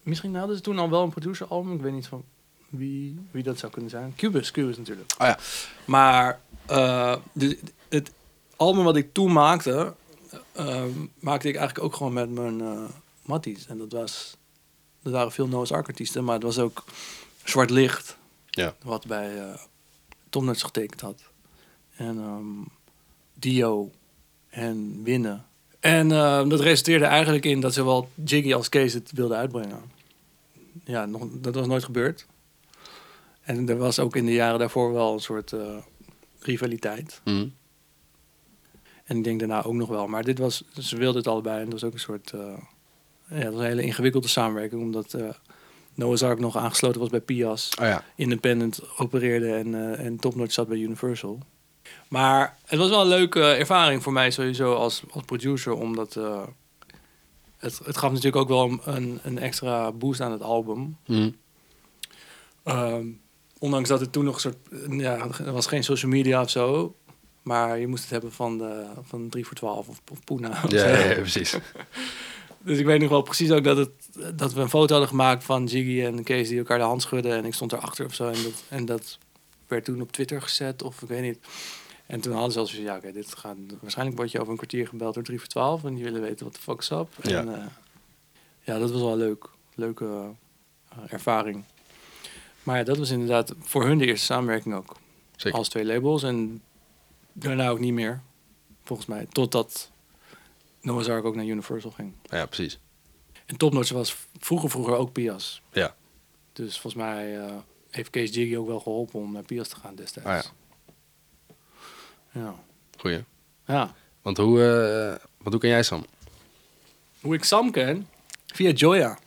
Speaker 1: Misschien hadden ze toen al wel een produceralbum. Ik weet niet van wie, wie dat zou kunnen zijn. Cubus, Cubus natuurlijk.
Speaker 2: Oh ja.
Speaker 1: Maar eh, dus het album wat ik toen maakte, eh, maakte ik eigenlijk ook gewoon met mijn eh matties. En dat was, er waren veel Noah's Ark artiesten, maar het was ook Zwart Licht.
Speaker 2: Ja.
Speaker 1: Wat bij eh, Tom Nuts getekend had. En ehm, Dio en Winnen. En ehm, dat resulteerde eigenlijk in dat zowel Jiggy als Kees het wilden uitbrengen. Ja, nog, dat was nooit gebeurd. En er was ook in de jaren daarvoor wel een soort eh, rivaliteit.
Speaker 2: Mhm.
Speaker 1: En ik denk daarna ook nog wel. Maar dit was, ze wilden het allebei. En dat was ook een soort. eh, ja, het was een hele ingewikkelde samenwerking. Omdat eh Noah's Ark nog aangesloten was bij Pias.
Speaker 2: Oh ja.
Speaker 1: Independent opereerde en, eh en Topnotch zat bij Universal. Maar het was wel een leuke ervaring voor mij sowieso als, als producer. Omdat eh, het, het gaf natuurlijk ook wel een, een extra boost aan het album.
Speaker 2: Mhm.
Speaker 1: Ehm, ondanks dat het toen nog een soort... Ja, er was geen social media of zo. Maar je moest het hebben van, de, van 3 voor 12 of, of Poena. of
Speaker 2: Ja,
Speaker 1: zo.
Speaker 2: ja, ja, precies.
Speaker 1: Dus ik weet nog wel precies ook dat, het, dat we een foto hadden gemaakt van Jiggy en Kees die elkaar de hand schudden. En ik stond erachter of zo. En dat, en dat werd toen op Twitter gezet of ik weet niet. En toen hadden ze al zoiets van, ja oké, dit gaat... Waarschijnlijk word je over een kwartier gebeld door 3 voor 12. En die willen weten wat de fuck is up.
Speaker 2: Ja.
Speaker 1: En, eh, ja, dat was wel leuk. Leuke eh, ervaring. Maar ja, dat was inderdaad voor hun de eerste samenwerking ook.
Speaker 2: Zeker.
Speaker 1: Als twee labels en daarna ook niet meer. Volgens mij. Totdat Noah's Ark ook naar Universal ging.
Speaker 2: Ja, precies.
Speaker 1: En Topnotch was v- vroeger vroeger ook Pias.
Speaker 2: Ja.
Speaker 1: Dus volgens mij eh, heeft Kees Jiggy ook wel geholpen om naar Pias te gaan destijds. ja.
Speaker 2: Ah
Speaker 1: Ja.
Speaker 2: Goeie. Want hoe, eh, want hoe ken jij Sam?
Speaker 1: Hoe ik Sam ken? Via Joya.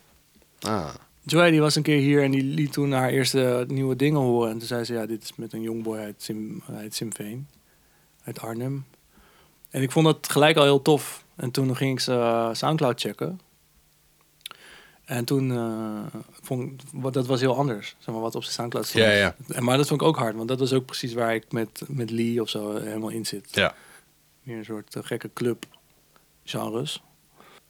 Speaker 2: Ah,
Speaker 1: Joya die was een keer hier en die liet toen haar eerste nieuwe dingen horen. En toen zei ze, ja, dit is met een jongboy uit, Sim, uit Simveen. Uit Arnhem. En ik vond dat gelijk al heel tof. En toen ging ik ze eh, Soundcloud checken. En toen eh, vond ik, wat- dat was heel anders. Zeg maar, wat op zijn Soundcloud stond.
Speaker 2: Ja, ja.
Speaker 1: En, maar dat vond ik ook hard, want dat was ook precies waar ik met, met Lee of zo helemaal in zit.
Speaker 2: Ja.
Speaker 1: Meer een soort eh, gekke club genres.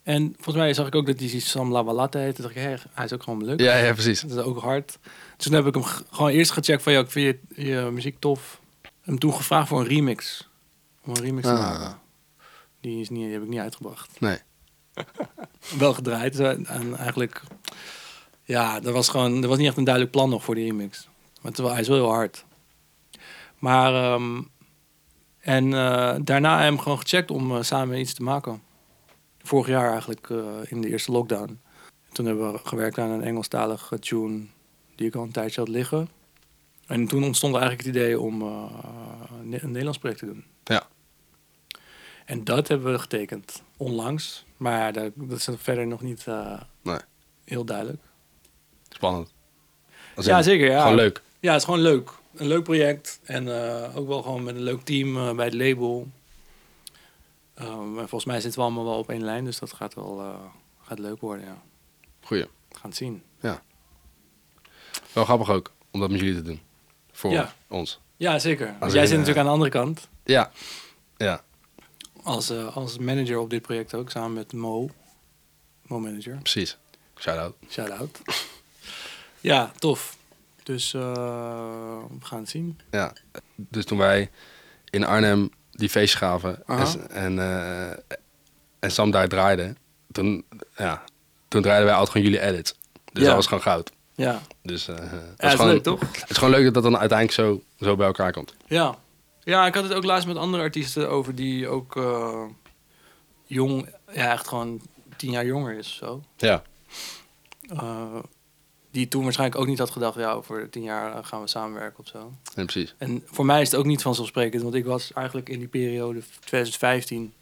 Speaker 1: En volgens mij zag ik ook dat die Sam Lawalata heette. Toen dacht ik, hé, hij is ook gewoon leuk.
Speaker 2: ja, ja, precies.
Speaker 1: Dat is ook hard. Dus toen heb ik hem g- gewoon eerst gecheckt van, ja, ik vind je, je muziek tof. Hem toen gevraagd voor een remix. Om een remix te
Speaker 2: Ah.
Speaker 1: maken. Die, is niet, die heb ik niet uitgebracht.
Speaker 2: Nee.
Speaker 1: Wel gedraaid. eh, En eigenlijk, ja, er was gewoon, er was niet echt een duidelijk plan nog voor die remix. Maar terwijl, hij is wel heel hard. Maar, ehm, en eh, daarna hem gewoon gecheckt om eh, samen iets te maken. Vorig jaar eigenlijk, eh, in de eerste lockdown. Toen hebben we gewerkt aan een Engelstalige tune die ik al een tijdje had liggen. En toen ontstond eigenlijk het idee om eh, een Nederlands project te doen.
Speaker 2: Ja.
Speaker 1: En dat hebben we getekend onlangs. Maar ja, dat, dat is verder nog niet eh,
Speaker 2: Nee.
Speaker 1: heel duidelijk.
Speaker 2: Spannend. Als in,
Speaker 1: Ja, zeker. Ja.
Speaker 2: Gewoon leuk.
Speaker 1: Ja, het is gewoon leuk. Een leuk project. En eh, ook wel gewoon met een leuk team eh, bij het label. Ehm, en volgens mij zitten we allemaal wel op één lijn. Dus dat gaat wel eh, gaat leuk worden. Ja.
Speaker 2: Goeie.
Speaker 1: We gaan het zien.
Speaker 2: Wel grappig ook, om dat met jullie te doen. Voor
Speaker 1: Ja.
Speaker 2: ons.
Speaker 1: Ja, zeker. Want
Speaker 2: Als
Speaker 1: Jij
Speaker 2: in, eh,
Speaker 1: zit natuurlijk aan de andere kant.
Speaker 2: Ja. Ja,
Speaker 1: Als, eh, als manager op dit project ook, samen met Mo. Mo manager.
Speaker 2: precies. Shout-out.
Speaker 1: Shout-out. ja, tof. Dus eh, we gaan het zien.
Speaker 2: Ja. Dus toen wij in Arnhem die feest gaven
Speaker 1: Aha.
Speaker 2: en, s- en, eh, en Sam daar draaide, toen, ja, toen draaiden wij altijd gewoon jullie edits. Dus
Speaker 1: Ja.
Speaker 2: dat was gewoon goud.
Speaker 1: Ja,
Speaker 2: Dus, eh, het
Speaker 1: ja is
Speaker 2: gewoon,
Speaker 1: leuk toch?
Speaker 2: Het is gewoon leuk dat dat dan uiteindelijk zo, zo bij elkaar komt.
Speaker 1: Ja. ja, ik had het ook laatst met andere artiesten over die ook eh, jong, ja, echt gewoon tien jaar jonger is of zo.
Speaker 2: Ja.
Speaker 1: Eh, die toen waarschijnlijk ook niet had gedacht, ja, over tien jaar eh, gaan we samenwerken of zo.
Speaker 2: Ja, precies.
Speaker 1: En voor mij is het ook niet vanzelfsprekend, want ik was eigenlijk in die periode 2015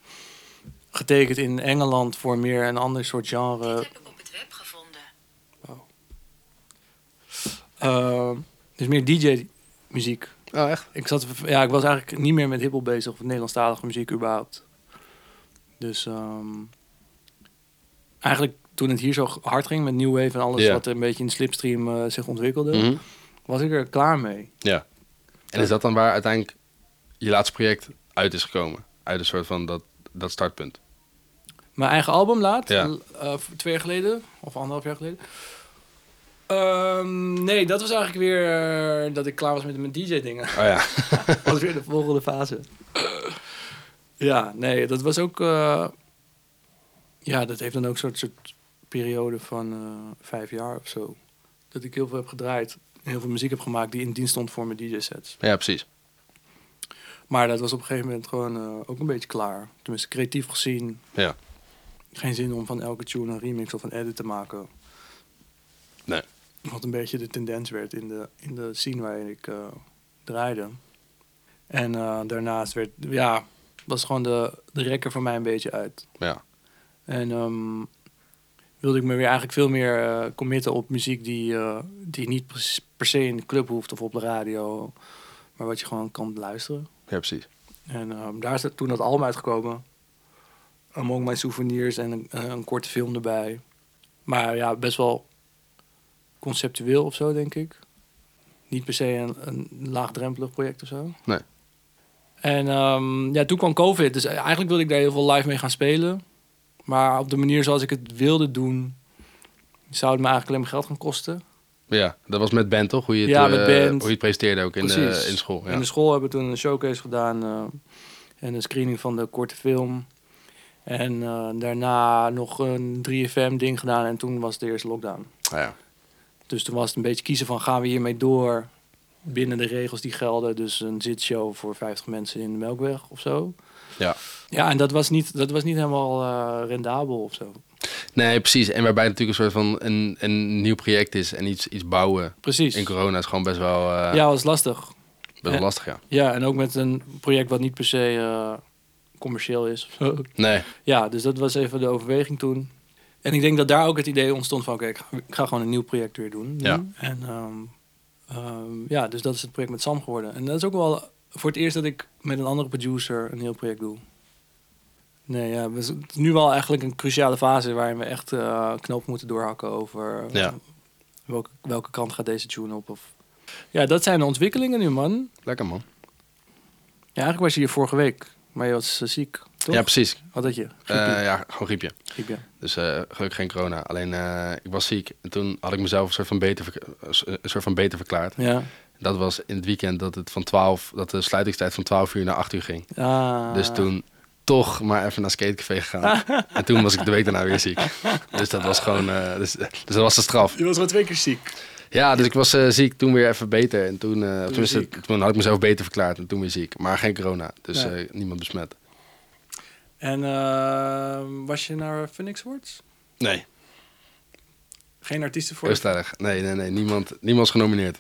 Speaker 1: getekend in Engeland voor meer een ander soort genre.
Speaker 3: Dit heb ik op het web gevonden.
Speaker 1: Eh, dus meer DJ-muziek.
Speaker 2: Oh, echt?
Speaker 1: Ik, zat, ja, ik was eigenlijk niet meer met hiphop bezig of Nederlandstalige muziek überhaupt. Dus ehm, eigenlijk toen het hier zo hard ging met New Wave en alles
Speaker 2: Ja.
Speaker 1: wat er een beetje in de slipstream eh, zich ontwikkelde, was ik er klaar mee.
Speaker 2: Mhm. En is dat dan waar uiteindelijk je laatste project uit is gekomen? Uit een soort van dat, dat startpunt.
Speaker 1: Mijn eigen album laat,
Speaker 2: Ja.
Speaker 1: l- eh, v- twee jaar geleden of anderhalf jaar geleden. Ehm, nee, dat was eigenlijk weer eh, dat ik klaar was met mijn DJ-dingen.
Speaker 2: Oh ja.
Speaker 1: Dat was weer de volgende fase. Ja, nee, dat was ook. eh, ja, dat heeft dan ook een soort, soort periode van eh, vijf jaar of zo. Dat ik heel veel heb gedraaid. en Heel veel muziek heb gemaakt die in dienst stond voor mijn DJ-sets.
Speaker 2: Ja, precies.
Speaker 1: Maar dat was op een gegeven moment gewoon eh, ook een beetje klaar. Tenminste, creatief gezien.
Speaker 2: Ja.
Speaker 1: Geen zin om van elke tune een remix of een edit te maken.
Speaker 2: Nee.
Speaker 1: Wat een beetje de tendens werd in de, in de scene waar ik eh, draaide. En eh, daarnaast werd, ja, was gewoon de, de rekker voor mij een beetje uit.
Speaker 2: Ja.
Speaker 1: En ehm, wilde ik me weer eigenlijk veel meer eh, committen op muziek die, eh, die niet pres- per se in de club hoeft of op de radio. Maar wat je gewoon kan luisteren.
Speaker 2: Ja, precies.
Speaker 1: En ehm, daar is dat- toen dat album uitgekomen. Among My Souvenirs en een, eh, een korte film erbij. Maar ja, best wel conceptueel of zo, denk ik. Niet per se een, een laagdrempelig project of zo.
Speaker 2: Nee.
Speaker 1: En ehm, ja, toen kwam COVID. Dus eigenlijk wilde ik daar heel veel live mee gaan spelen. Maar op de manier zoals ik het wilde doen... zou het me eigenlijk alleen maar geld gaan kosten.
Speaker 2: Ja, dat was met band toch? Hoe je het,
Speaker 1: Ja, met
Speaker 2: eh,
Speaker 1: band.
Speaker 2: Hoe je het presenteerde ook in, de,
Speaker 1: Precies. dus-
Speaker 2: in school. Ja.
Speaker 1: In de school hebben we toen een showcase gedaan eh, en een screening van de korte film. En eh, daarna nog een 3FM-ding gedaan en toen was de eerste lockdown.
Speaker 2: Ah, ja.
Speaker 1: Dus toen was het een beetje kiezen van gaan we hiermee door binnen de regels die gelden. Dus een zitshow voor 50 mensen in de Melkweg of zo.
Speaker 2: Ja.
Speaker 1: Ja, en dat was niet, dat was niet helemaal eh, rendabel of zo.
Speaker 2: Nee, precies. En waarbij het natuurlijk een soort van een, een nieuw project is en iets, iets bouwen.
Speaker 1: Precies.
Speaker 2: In corona is gewoon best wel, eh,
Speaker 1: Ja, was lastig.
Speaker 2: best wel
Speaker 1: en-
Speaker 2: lastig, ja.
Speaker 1: Ja, en ook met een project wat niet per se eh, commercieel is of zo.
Speaker 2: Nee,
Speaker 1: Ja, dus dat was even de overweging toen. En ik denk dat daar ook het idee ontstond van... oké, ik ga- ik ga gewoon een nieuw project weer doen. nu.
Speaker 2: Ja.
Speaker 1: En ehm, ehm, ja, dus dat is het project met Sam geworden. En dat is ook wel voor het eerst dat ik met een andere producer een heel project doe. Nee, ja, we z- het is nu wel eigenlijk een cruciale fase... waarin we echt eh knoop moeten doorhakken over... eh,
Speaker 2: Ja.
Speaker 1: welke, welke kant gaat deze tune op. Of... Ja, dat zijn de ontwikkelingen nu, man.
Speaker 2: lekker man.
Speaker 1: Ja, eigenlijk was je hier vorige week, maar je was eh, ziek, toch?
Speaker 2: Ja, precies.
Speaker 1: Wat had je?
Speaker 2: Eh, ja, gewoon griepje.
Speaker 1: Griep, ja.
Speaker 2: Dus eh, gelukkig geen corona. Alleen eh, ik was ziek. En toen had ik mezelf een soort, van beter verk- een soort van beter verklaard.
Speaker 1: Ja.
Speaker 2: Dat was in het weekend dat, het van 12, dat de sluitingstijd van 12 uur naar 8 uur ging.
Speaker 1: Ah.
Speaker 2: Dus toen toch maar even naar skatecafé gegaan. en toen was ik de week daarna weer ziek. Dus dat was gewoon, eh, dus, dus dat was de straf.
Speaker 1: Je was gewoon twee keer ziek.
Speaker 2: Ja, dus ik was eh, ziek, toen weer even beter. En toen, eh, toen,
Speaker 1: ziek.
Speaker 2: toen had ik mezelf beter verklaard en toen weer ziek. Maar geen corona, dus
Speaker 1: Nee.
Speaker 2: eh, niemand besmet.
Speaker 1: En ehm, was je naar Phoenix Awards?
Speaker 2: Nee.
Speaker 1: Geen artiesten voor?
Speaker 2: Heel stellig. Nee, nee, nee. Niemand, niemand is genomineerd.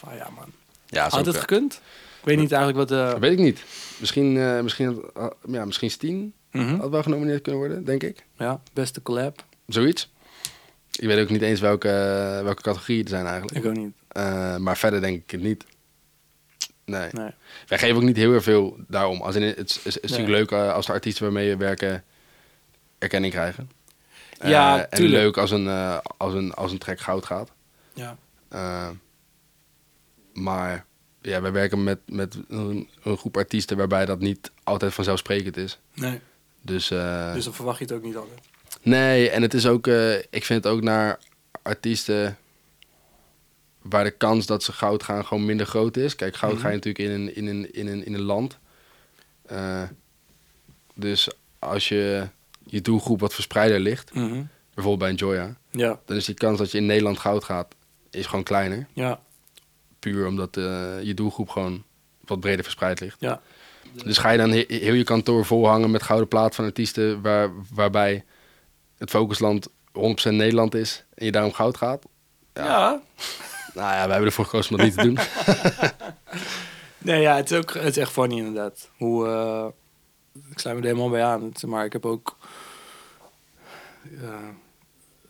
Speaker 1: Ah, ja, man.
Speaker 2: Ja, zo
Speaker 1: Had het gekund? Ik weet niet eigenlijk wat...
Speaker 2: Dat
Speaker 1: eh
Speaker 2: weet ik niet. Misschien, eh, misschien, had- had- ja, misschien Steen
Speaker 1: mhm.
Speaker 2: had wel genomineerd kunnen worden, denk ik.
Speaker 1: Ja, beste collab.
Speaker 2: Zoiets. Ik weet ook niet eens welke, eh, welke categorieën er zijn eigenlijk.
Speaker 1: Ik ook niet.
Speaker 2: Eh, maar verder denk ik het niet. Nee.
Speaker 1: Nee.
Speaker 2: Wij geven ook niet heel erg veel daarom. Als in, het is, is, is
Speaker 1: Nee.
Speaker 2: natuurlijk leuk eh, als de artiesten waarmee we werken erkenning krijgen. Eh,
Speaker 1: Ja,
Speaker 2: En
Speaker 1: tuurlijk.
Speaker 2: leuk als een, eh, als, een, als een track goud gaat.
Speaker 1: Ja.
Speaker 2: Eh, maar ja, wij werken met, met een, een groep artiesten waarbij dat niet altijd vanzelfsprekend is.
Speaker 1: Nee.
Speaker 2: Dus, eh,
Speaker 1: Dus dan verwacht je het ook niet altijd.
Speaker 2: Nee, en het is ook, eh, ik vind het ook naar artiesten waar de kans dat ze goud gaan gewoon minder groot is. Kijk, goud ga je natuurlijk in een, in een, in een, in een land. Eh, dus als je je doelgroep wat verspreider ligt,
Speaker 1: Mhm.
Speaker 2: bijvoorbeeld bij een Joya,
Speaker 1: Ja,
Speaker 2: dan is die kans dat je in Nederland goud gaat, is gewoon kleiner.
Speaker 1: ja,
Speaker 2: Puur omdat eh, je doelgroep gewoon wat breder verspreid ligt.
Speaker 1: ja.
Speaker 2: Dus ga je dan he- heel je kantoor volhangen met gouden plaat van artiesten waar, waarbij het focusland 100% Nederland is en je daarom goud gaat?
Speaker 1: Ja.
Speaker 2: Nou ja, we hebben ervoor gekozen om dat niet te doen.
Speaker 1: Nee, ja, het is, ook, het is echt funny inderdaad. Hoe, eh, ik sluit me er helemaal bij aan. Het- Maar ik heb ook ja,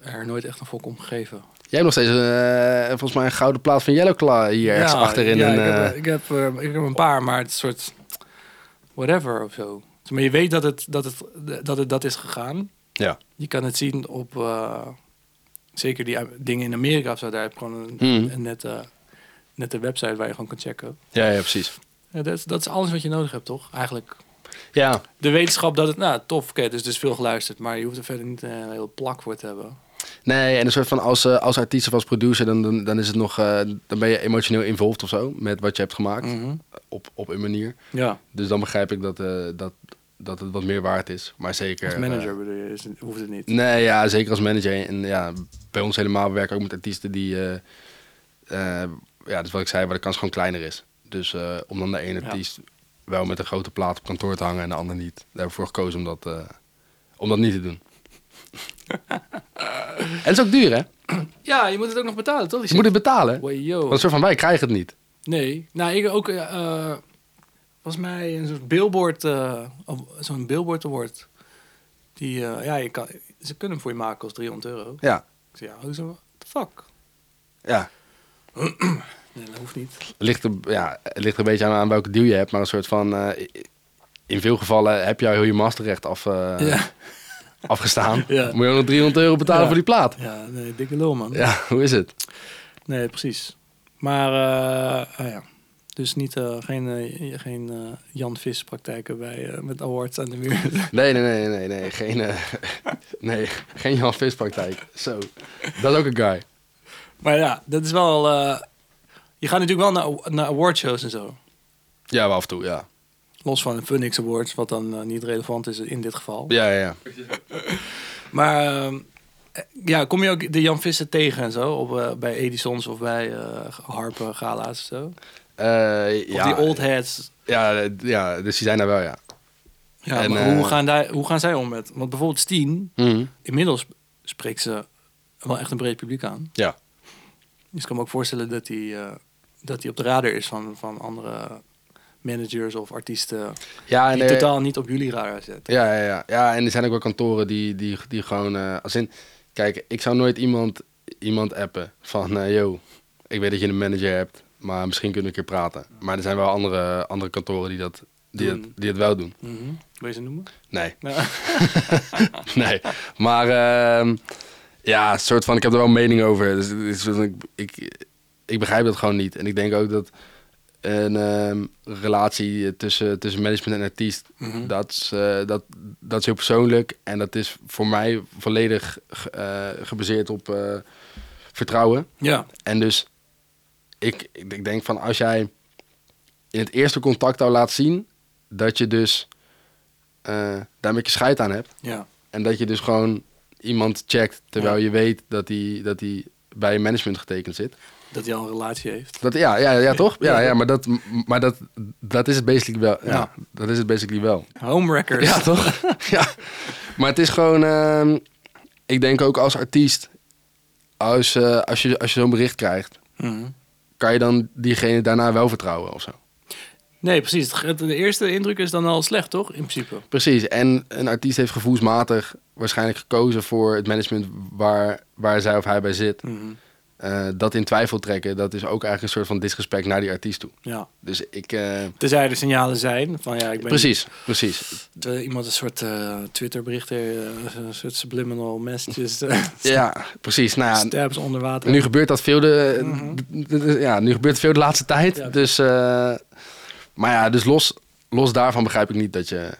Speaker 1: er nooit echt een fok om gegeven.
Speaker 2: Jij hebt nog steeds eh, volgens mij een gouden plaat van Yellowclaw hier ergens
Speaker 1: Ja,
Speaker 2: achterin.
Speaker 1: ja,
Speaker 2: een,
Speaker 1: ik, heb,
Speaker 2: eh,
Speaker 1: ik, heb, eh, ik heb een paar, maar het is een soort whatever of zo. Maar je weet dat het dat, het, dat, het, dat is gegaan.
Speaker 2: ja.
Speaker 1: Je kan het zien op eh, zeker die eh, dingen in Amerika of zo. Daar heb je gewoon een,
Speaker 2: Mhm.
Speaker 1: een nette, nette website waar je gewoon kan checken.
Speaker 2: Ja, ja, precies.
Speaker 1: Ja, dat, is, dat is alles wat je nodig hebt, toch? Eigenlijk.
Speaker 2: Ja,
Speaker 1: De wetenschap dat het, nou, tof, oké, dus, dus veel geluisterd. Maar je hoeft er verder niet eh, een heel plak voor te hebben.
Speaker 2: nee, en een soort van als, eh, als artiest of als producer, dan, dan, dan is het nog, eh, dan ben je emotioneel involved of zo met wat je hebt gemaakt
Speaker 1: Mhm.
Speaker 2: op, op een manier.
Speaker 1: Ja,
Speaker 2: Dus dan begrijp ik dat, eh, dat, dat het wat meer waard is. Maar zeker.
Speaker 1: als
Speaker 2: eh,
Speaker 1: manager bedoel je, is het- hoeft het niet.
Speaker 2: Nee, ja, zeker als manager. En ja, bij ons helemaal, we werken ook met artiesten die, eh, eh, ja, dus wat ik zei, waar de kans gewoon kleiner is. Dus eh, om dan de ene
Speaker 1: Ja.
Speaker 2: artiest wel met een grote plaat op kantoor te hangen en de ander niet. Daar hebben we voor gekozen om dat, eh, om dat niet te doen. en het is ook duur, hè?
Speaker 1: Ja, je moet het ook nog betalen, toch? Die
Speaker 2: Je moet het betalen.
Speaker 1: shit. Wajo.
Speaker 2: Want een soort van wij krijgen het niet.
Speaker 1: Nee, nou ik ook, eh, eh, volgens mij een soort billboard, eh, of zo'n billboard award. Die, eh, ja, je kan, ze kunnen hem voor je maken als 300 euro.
Speaker 2: Ja,
Speaker 1: Ik zei, ja, hoezo, what the fuck?
Speaker 2: ja.
Speaker 1: Nee, dat hoeft niet.
Speaker 2: Het ligt, er, ja, het ligt er een beetje aan, aan welke deal je hebt, maar een soort van. eh, in veel gevallen heb jij heel je masterrecht af, eh,
Speaker 1: Ja,
Speaker 2: afgestaan.
Speaker 1: Ja.
Speaker 2: Moet je ook nog 300 euro betalen
Speaker 1: Ja.
Speaker 2: voor die plaat.
Speaker 1: ja nee, dikke lul, man.
Speaker 2: Ja, hoe is het?
Speaker 1: Nee, precies. Maar, eh, ah ja. Dus niet, eh, geen, eh, geen eh, Jan Vis praktijken bij, eh, met awards aan de muur.
Speaker 2: Nee, nee, nee, nee, nee. Geen, eh, nee, geen Jan Vis praktijk. Zo, dat is ook een guy.
Speaker 1: maar ja, dat is wel, eh, je gaat natuurlijk wel naar, naar awardshows en zo.
Speaker 2: Ja, maar af en toe, ja.
Speaker 1: Los van de Phoenix Awards, wat dan eh, niet relevant is in dit geval.
Speaker 2: Ja, ja, ja.
Speaker 1: Maar ehm, eh, ja, kom je ook de Jan Visser tegen en zo? Op, eh, bij Edison's of bij eh Harpen Gala's of zo?
Speaker 2: Eh,
Speaker 1: Of
Speaker 2: ja,
Speaker 1: die old heads.
Speaker 2: Ja, eh, ja, dus die zijn daar wel, ja.
Speaker 1: Ja,
Speaker 2: En,
Speaker 1: maar hoe,
Speaker 2: eh,
Speaker 1: gaan daar, hoe gaan zij om met... Want bijvoorbeeld Steen,
Speaker 2: Mhm.
Speaker 1: inmiddels spreekt ze wel echt een breed publiek aan.
Speaker 2: Ja.
Speaker 1: Dus ik kan me ook voorstellen dat hij eh, dat hij op de radar is van, van andere managers of artiesten...
Speaker 2: Ja,
Speaker 1: die
Speaker 2: en, eh,
Speaker 1: totaal niet op jullie radar zitten.
Speaker 2: ja, ja, ja. ja, en er zijn ook wel kantoren die, die, die gewoon... eh, als in, kijk, ik zou nooit iemand, iemand appen van... eh, yo, ik weet dat je een manager hebt, maar misschien kunnen we een keer praten. Maar er zijn wel andere, andere kantoren die dat, die, dat,
Speaker 1: Doen.
Speaker 2: die dat wel doen.
Speaker 1: Mhm. Wil je ze noemen?
Speaker 2: Nee.
Speaker 1: Nou,
Speaker 2: nee. Maar ehm, ja, een soort van, ik heb er wel een mening over. Dus, het is van, ik, ik, ik begrijp dat gewoon niet. En ik denk ook dat een ehm, relatie tussen, tussen management en artiest,
Speaker 1: Mhm.
Speaker 2: dat, is, eh, dat, dat is heel persoonlijk. En dat is voor mij volledig ge- eh, gebaseerd op eh, vertrouwen.
Speaker 1: ja.
Speaker 2: En dus ik, ik ik denk van als jij in het eerste contact al laat zien dat je dus eh, daar met je scheid aan hebt.
Speaker 1: ja.
Speaker 2: En dat je dus gewoon iemand checkt terwijl
Speaker 1: Ja.
Speaker 2: je weet dat hij dat die bij een management getekend zit.
Speaker 1: Dat hij al een relatie heeft.
Speaker 2: Dat, ja, ja, ja, toch? Ja, ja maar, dat, maar dat, dat is het basically wel. Ja,
Speaker 1: Ja.
Speaker 2: Dat is het basically wel.
Speaker 1: Homewreckers.
Speaker 2: Ja, toch? ja. Maar het is gewoon... ehm, ik denk ook als artiest, als, eh, als je, als je zo'n bericht krijgt,
Speaker 1: Mhm.
Speaker 2: kan je dan diegene daarna wel vertrouwen of zo?
Speaker 1: Nee, precies. Het- het- De eerste indruk is dan al slecht, toch? In principe.
Speaker 2: Precies, en een artiest heeft gevoelsmatig waarschijnlijk gekozen voor het management waar, waar zij of hij bij zit. Eh, dat in twijfel trekken, dat is ook eigenlijk een soort van disrespect naar die artiest toe.
Speaker 1: Ja.
Speaker 2: Dus ik. eh,
Speaker 1: Tenzij er signalen zijn van ja, ik ben
Speaker 2: precies, precies.
Speaker 1: niet- eh, iemand een soort eh Twitterberichten, eh, een soort subliminal messages, eh,
Speaker 2: Ja, precies. Nou ja,
Speaker 1: stabs onder water.
Speaker 2: nu gebeurt dat veel de, d- d- d- ja, nu gebeurt het veel de laatste tijd.
Speaker 1: Ja.
Speaker 2: Dus. eh, maar ja, dus los, los daarvan begrijp ik niet dat je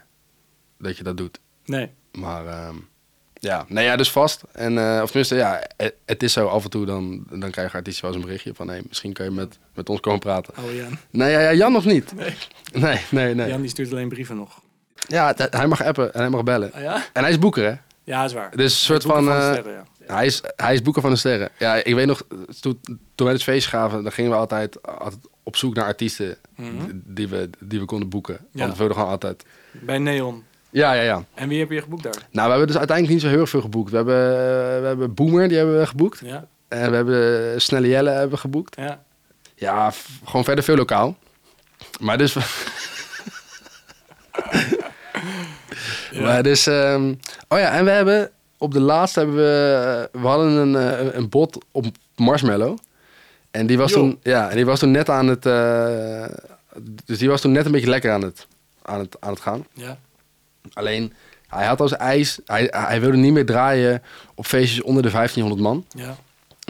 Speaker 2: dat, je dat doet.
Speaker 1: Nee.
Speaker 2: Maar. ehm, Ja, nee, ja, dus vast. En, eh, of tenminste, ja, het, het is zo. Af en toe dan, dan krijgen artiesten wel eens een berichtje van... hé, misschien kun je met, met ons komen praten.
Speaker 1: Oh Jan.
Speaker 2: Nee, ja, ja, Jan nog niet? Nee. Nee, nee,
Speaker 1: Jan die stuurt alleen brieven nog.
Speaker 2: Ja, het- hij mag appen en hij mag bellen.
Speaker 1: Ah, ja?
Speaker 2: En hij is boeker, hè?
Speaker 1: Ja, is waar.
Speaker 2: Dus een soort
Speaker 1: Boeken
Speaker 2: van...
Speaker 1: de
Speaker 2: eh,
Speaker 1: sterren, ja.
Speaker 2: hij, is, hij is boeker van de sterren. Ja, ik weet nog, toen, toen wij dus feest gaven... dan gingen we altijd, altijd op zoek naar artiesten
Speaker 1: Mhm.
Speaker 2: die- die, we, die we konden boeken.
Speaker 1: Ja.
Speaker 2: Want we wilden gewoon altijd...
Speaker 1: Bij Neon.
Speaker 2: Ja, ja, ja.
Speaker 1: En wie heb je geboekt daar?
Speaker 2: Nou, we hebben dus uiteindelijk niet zo heel erg veel geboekt. We hebben, we hebben Boomer, die hebben we geboekt.
Speaker 1: Ja,
Speaker 2: En we hebben Snelle Jelle hebben we geboekt.
Speaker 1: ja.
Speaker 2: Ja, f- gewoon verder veel lokaal. Maar dus... Maar dus ehm, oh ja, en we hebben... Op de laatste hebben we... We hadden een, eh, een bot op Marshmallow. En die was,
Speaker 1: Joh.
Speaker 2: toen, ja, en die was toen net aan het... eh, dus die was toen net een beetje lekker aan het, aan het, aan het gaan.
Speaker 1: ja.
Speaker 2: Alleen, hij had als eis... Hij, hij wilde niet meer draaien op feestjes onder de 1500 man.
Speaker 1: Ja,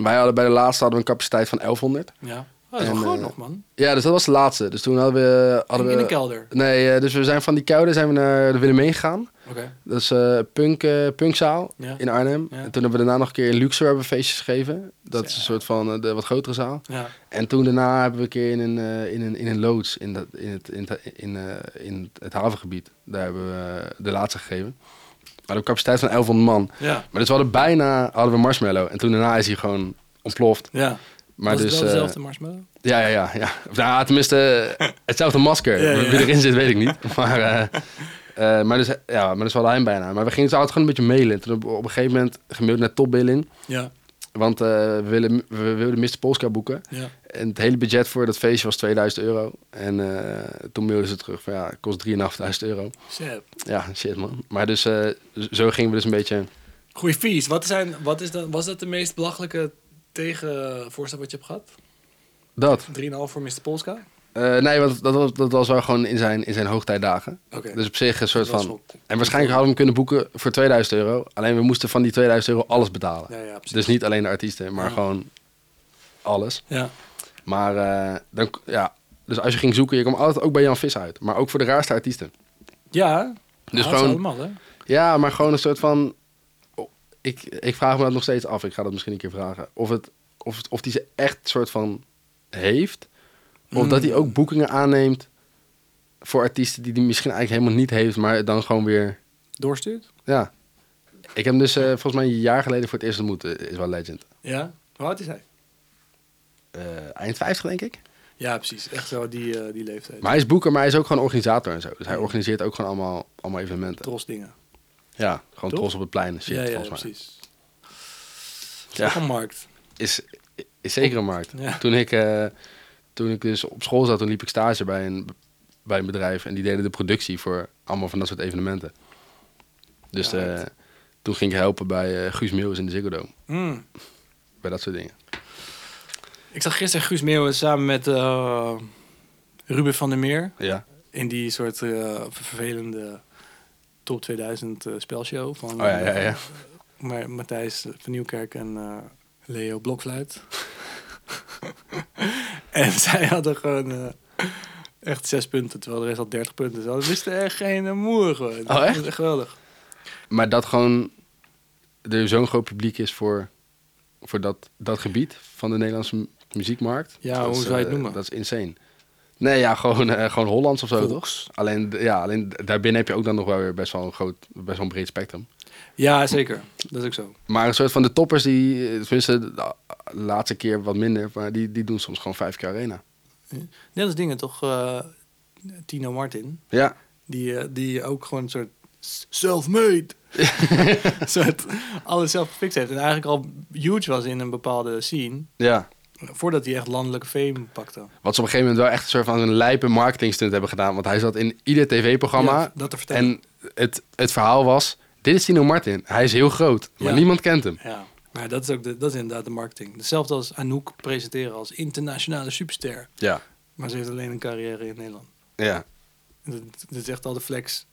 Speaker 2: Wij hadden bij de laatste hadden we een capaciteit van 1100.
Speaker 1: ja. Oh, dat is
Speaker 2: En,
Speaker 1: wel groot
Speaker 2: eh,
Speaker 1: nog, man.
Speaker 2: Ja, dus dat was de laatste. Dus toen hadden we... Hadden
Speaker 1: In
Speaker 2: we
Speaker 1: de kelder.
Speaker 2: Nee, eh, dus we zijn van die koude zijn we naar de Willemijn gegaan.
Speaker 1: Oké.
Speaker 2: Dat is eh punk, eh, punkzaal
Speaker 1: Ja.
Speaker 2: in Arnhem.
Speaker 1: Ja.
Speaker 2: En toen hebben we daarna nog een keer in Luxor hebben we feestjes gegeven. Dat is
Speaker 1: Ja.
Speaker 2: een soort van eh, de wat grotere zaal.
Speaker 1: Ja.
Speaker 2: En toen daarna hebben we een keer in een, eh, in een, in een loods in, dat, in, het, in, het, in, eh, in het havengebied. Daar hebben we eh, de laatste gegeven. We hadden een capaciteit van 1100 man.
Speaker 1: Ja.
Speaker 2: Maar dus we hadden bijna hadden we marshmallow. En toen daarna is hij gewoon ontploft.
Speaker 1: Ja.
Speaker 2: Maar
Speaker 1: was
Speaker 2: dus,
Speaker 1: het wel
Speaker 2: eh,
Speaker 1: dezelfde marshmallow?
Speaker 2: ja, ja, ja. ja. Of, nou, ja, tenminste, eh, hetzelfde masker.
Speaker 1: Ja, ja, ja.
Speaker 2: Wie erin zit, weet ik niet. Maar, eh eh, maar, dus, ja, maar dus we hadden hem bijna. Maar we gingen dus altijd gewoon een beetje mailen. Toen op, op een gegeven moment gemaild naar Topbilling.
Speaker 1: Ja.
Speaker 2: Want eh, we, willen, we wilden Mr. Polska boeken.
Speaker 1: Ja.
Speaker 2: En het hele budget voor dat feestje was 2000 euro. En eh, toen mailden ze terug van ja, het kost 3.500 euro.
Speaker 1: Sap.
Speaker 2: Ja, shit man. Maar dus eh, zo gingen we dus een beetje...
Speaker 1: Goeie fees. Wat zijn, wat is dat, was dat de meest belachelijke tegenvoorstel wat je hebt gehad? 3,5
Speaker 2: Dat.
Speaker 1: voor Mr. Polska?
Speaker 2: Eh, nee, want dat was, dat was wel gewoon in zijn, in zijn hoogtijdagen.
Speaker 1: Oké.
Speaker 2: Dus op zich een soort
Speaker 1: Dat was
Speaker 2: van...
Speaker 1: wel-
Speaker 2: En waarschijnlijk hadden we hem kunnen boeken voor 2000 euro. Alleen we moesten van die 2000 euro alles betalen.
Speaker 1: Ja, ja, precies.
Speaker 2: dus niet alleen de artiesten, maar
Speaker 1: Ja.
Speaker 2: gewoon alles.
Speaker 1: Ja.
Speaker 2: Maar eh, dan, ja, dus als je ging zoeken, je kwam altijd ook bij Jan Vis uit. Maar ook voor de raarste artiesten.
Speaker 1: Ja.
Speaker 2: Dus
Speaker 1: dat is
Speaker 2: gewoon-
Speaker 1: allemaal, hè?
Speaker 2: Ja, maar gewoon een soort van... oh, ik, ik vraag me dat nog steeds af. Ik ga dat misschien een keer vragen. Of, het, of, het- of die ze echt soort van heeft. Of dat
Speaker 1: Hmm.
Speaker 2: hij ook boekingen aanneemt voor artiesten die hij misschien eigenlijk helemaal niet heeft. Maar dan gewoon weer...
Speaker 1: Doorstuurt?
Speaker 2: Ja. Ik heb hem dus eh, volgens mij een jaar geleden voor het eerst ontmoet. eh, Is wel legend.
Speaker 1: Ja. Hoe oud is hij?
Speaker 2: Eh, eind 50, denk ik.
Speaker 1: Ja, precies. Echt zo die, eh, die leeftijd.
Speaker 2: Maar hij is boeker, maar hij is ook gewoon organisator en zo. Dus hij organiseert ook gewoon allemaal, allemaal evenementen.
Speaker 1: Tros dingen.
Speaker 2: Ja, gewoon
Speaker 1: Toch?
Speaker 2: trots op het plein. en Shit,
Speaker 1: Ja, ja,
Speaker 2: volgens mij.
Speaker 1: precies.
Speaker 2: Ja.
Speaker 1: Ja. Een markt.
Speaker 2: Is, is zeker een markt.
Speaker 1: Ja.
Speaker 2: Toen, ik, eh, toen ik dus op school zat, toen liep ik stage bij een, bij een bedrijf. En die deden de productie voor allemaal van dat soort evenementen. Dus
Speaker 1: Ja,
Speaker 2: eh,
Speaker 1: right.
Speaker 2: toen ging ik helpen bij eh, Guus Meeuwis in de Ziggo Dome.
Speaker 1: Mm.
Speaker 2: Bij dat soort dingen.
Speaker 1: Ik zag gisteren Guus Meeuwen samen met eh, Ruben van der Meer.
Speaker 2: Ja.
Speaker 1: In die soort eh, vervelende top 2000 eh, spelshow van
Speaker 2: Oh ja, ja, ja.
Speaker 1: Maar Matthijs van Nieuwkerk en eh, Leo Blokfluit. en zij hadden gewoon eh, echt zes punten, terwijl de rest al 30 punten. Ze hadden- wisten echt geen moer gewoon. Dat was
Speaker 2: Oh, echt?
Speaker 1: geweldig.
Speaker 2: Maar dat gewoon er zo'n groot publiek is voor, voor dat, dat gebied van de Nederlandse mu- muziekmarkt.
Speaker 1: Ja,
Speaker 2: dat is,
Speaker 1: hoe zou je het
Speaker 2: eh,
Speaker 1: noemen?
Speaker 2: Dat is insane. Nee, ja, gewoon, eh, gewoon Hollands of zo,
Speaker 1: Volks.
Speaker 2: toch? Alleen, d- ja, alleen d- daarbinnen heb je ook dan nog wel weer best wel een groot, best wel een breed spectrum.
Speaker 1: Ja, zeker. Dat is ook zo.
Speaker 2: Maar een soort van de toppers die, eh, tenminste de de laatste keer wat minder, maar die, die doen soms gewoon vijf keer arena.
Speaker 1: Net als dingen toch, eh, Tino Martin.
Speaker 2: Ja,
Speaker 1: Die, eh, die ook gewoon een soort self-made. Een soort alles zelf gefixt heeft. En eigenlijk al huge was in een bepaalde scene.
Speaker 2: ja.
Speaker 1: Voordat hij echt landelijke fame pakte.
Speaker 2: Wat ze op een gegeven moment wel echt een soort van een lijpe marketingstunt hebben gedaan. Want hij zat in ieder tv-programma.
Speaker 1: Ja, dat te vertellen.
Speaker 2: En het, het verhaal was, dit is Tino Martin. Hij is heel groot, maar
Speaker 1: Ja.
Speaker 2: niemand kent hem.
Speaker 1: Ja, maar dat is, ook de, dat is inderdaad de marketing. Hetzelfde als Anouk presenteren als internationale superster.
Speaker 2: Ja.
Speaker 1: Maar ze heeft alleen een carrière in Nederland.
Speaker 2: Ja.
Speaker 1: En Dat, dat is echt al de flex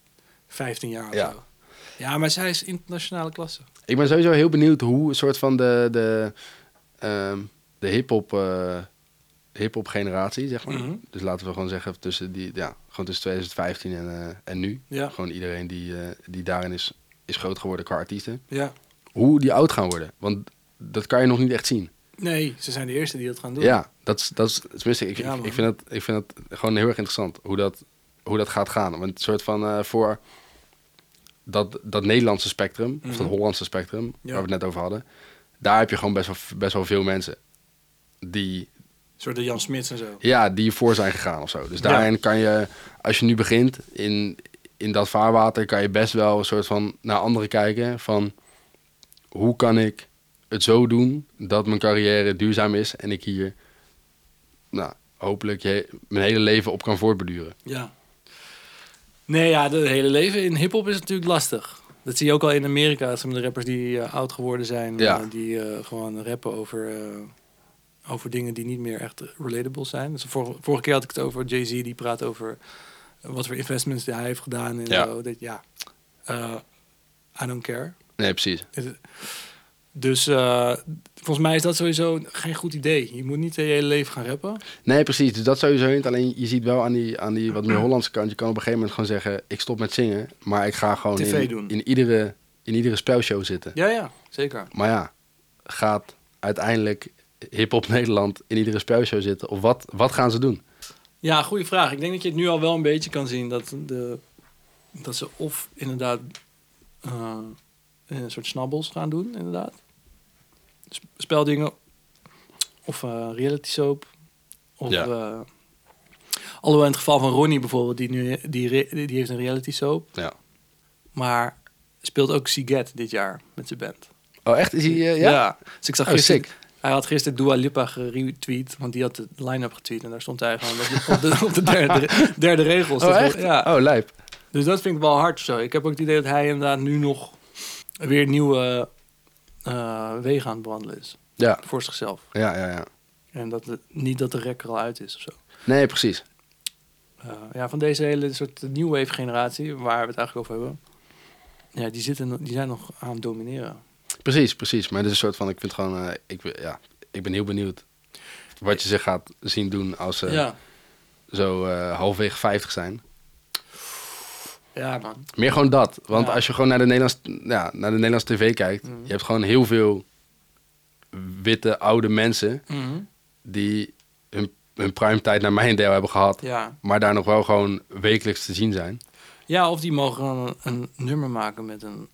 Speaker 1: 15 jaar of
Speaker 2: Ja.
Speaker 1: zo. Ja, maar zij is internationale klasse.
Speaker 2: Ik ben sowieso heel benieuwd hoe een soort van de, de, ehm, de hip-hop eh, hip-hop generatie, zeg maar.
Speaker 1: Mhm.
Speaker 2: Dus laten we gewoon zeggen tussen, die, ja, gewoon tussen 2015 en, eh, en nu.
Speaker 1: Ja.
Speaker 2: Gewoon iedereen die, eh, die daarin is, is is groot geworden qua artiesten.
Speaker 1: Ja.
Speaker 2: Hoe die oud gaan worden. Want dat kan je nog niet echt zien.
Speaker 1: Nee, ze zijn de eerste die dat gaan doen.
Speaker 2: Ja, dat is, dat is tenminste, ik,
Speaker 1: Ja,
Speaker 2: ik-
Speaker 1: man.
Speaker 2: ik, vind dat, ik vind dat gewoon heel erg interessant hoe dat, hoe dat gaat gaan. Want het soort van eh, voor dat, dat Nederlandse spectrum, of dat
Speaker 1: Mhm.
Speaker 2: Hollandse spectrum,
Speaker 1: Ja.
Speaker 2: waar we het net over hadden, daar heb je gewoon best wel, best wel veel mensen die,
Speaker 1: Een soort de Jan Smits en zo.
Speaker 2: ja, die voor zijn gegaan of zo. Dus daarin kan je, als je nu begint in, in dat vaarwater, kan je best wel een soort van naar anderen kijken van hoe kan ik het zo doen dat mijn carrière duurzaam is en ik hier, nou, hopelijk je, mijn hele leven op kan voortbeduren.
Speaker 1: Ja. Nee, ja, het hele leven in hip-hop is natuurlijk lastig. Dat zie je ook al in Amerika. Dat zijn de rappers die eh, oud geworden zijn.
Speaker 2: Ja.
Speaker 1: eh, die eh, gewoon rappen over, eh, over dingen die niet meer echt relatable zijn. Dus vor- vorige keer had ik het over Jay-Z. Die praat over wat voor investments die hij heeft gedaan. En
Speaker 2: Ja.
Speaker 1: zo. Dat, ja. Eh, I don't care.
Speaker 2: Nee, precies.
Speaker 1: Is het- Dus eh, volgens mij is dat sowieso geen goed idee. Je moet niet je hele leven gaan rappen.
Speaker 2: Nee, precies. Dus dat sowieso niet. Alleen je ziet wel aan die, aan die wat meer Hollandse kant. Je kan op een gegeven moment gewoon zeggen, ik stop met zingen, maar ik ga gewoon
Speaker 1: TV
Speaker 2: in,
Speaker 1: doen.
Speaker 2: in iedere, in iedere spelshow zitten.
Speaker 1: Ja, ja, zeker.
Speaker 2: Maar ja, gaat uiteindelijk hip-hop Nederland in iedere spelshow zitten? Of wat, wat gaan ze doen?
Speaker 1: Ja, goede vraag. Ik denk dat je het nu al wel een beetje kan zien dat, de, dat ze of inderdaad eh, een soort snabbels gaan doen, inderdaad. Sp- speldingen. Of eh, reality soap. Of,
Speaker 2: Ja.
Speaker 1: eh, alhoewel in het geval van Ronnie bijvoorbeeld, die, nu, die, re- die heeft een reality soap.
Speaker 2: Ja.
Speaker 1: Maar speelt ook Siget dit jaar met zijn band.
Speaker 2: Oh, echt? Is hij... eh, ja?
Speaker 1: ja? Dus ik zag
Speaker 2: Oh,
Speaker 1: gisteren...
Speaker 2: sick.
Speaker 1: Hij had gisteren Dua Lipa geretweet, want die had de line-up getweet. En daar stond hij gewoon op de, op de, op de derde, derde regel.
Speaker 2: Oh, echt?
Speaker 1: Ja.
Speaker 2: Oh, lijp.
Speaker 1: Dus dat vind ik wel hard of zo. Ik heb ook het idee dat hij inderdaad nu nog weer nieuwe eh, wegen aan het bewandelen is.
Speaker 2: Ja.
Speaker 1: Voor zichzelf.
Speaker 2: Ja, ja, ja.
Speaker 1: En dat het- niet dat de rek er al uit is of zo.
Speaker 2: Nee, precies.
Speaker 1: Eh, ja, van deze hele soort new wave generatie, waar we het eigenlijk over hebben. Ja, die, zitten, die zijn nog aan het domineren.
Speaker 2: Precies, precies. Maar het is een soort van... Ik vind gewoon... eh, ik, ben- ja, ik ben heel benieuwd wat je ze gaat zien doen als ze
Speaker 1: Ja.
Speaker 2: zo eh halfwege 50 zijn.
Speaker 1: Ja, man.
Speaker 2: Meer gewoon dat. Want
Speaker 1: Ja.
Speaker 2: als je gewoon naar de Nederlandse, ja, naar de Nederlandse tv kijkt...
Speaker 1: Mhm.
Speaker 2: Je hebt gewoon heel veel witte, oude mensen... die hun, hun primetijd naar mijn deel hebben gehad.
Speaker 1: Ja.
Speaker 2: Maar daar nog wel gewoon wekelijks te zien zijn.
Speaker 1: Ja, of die mogen dan een, een nummer maken met een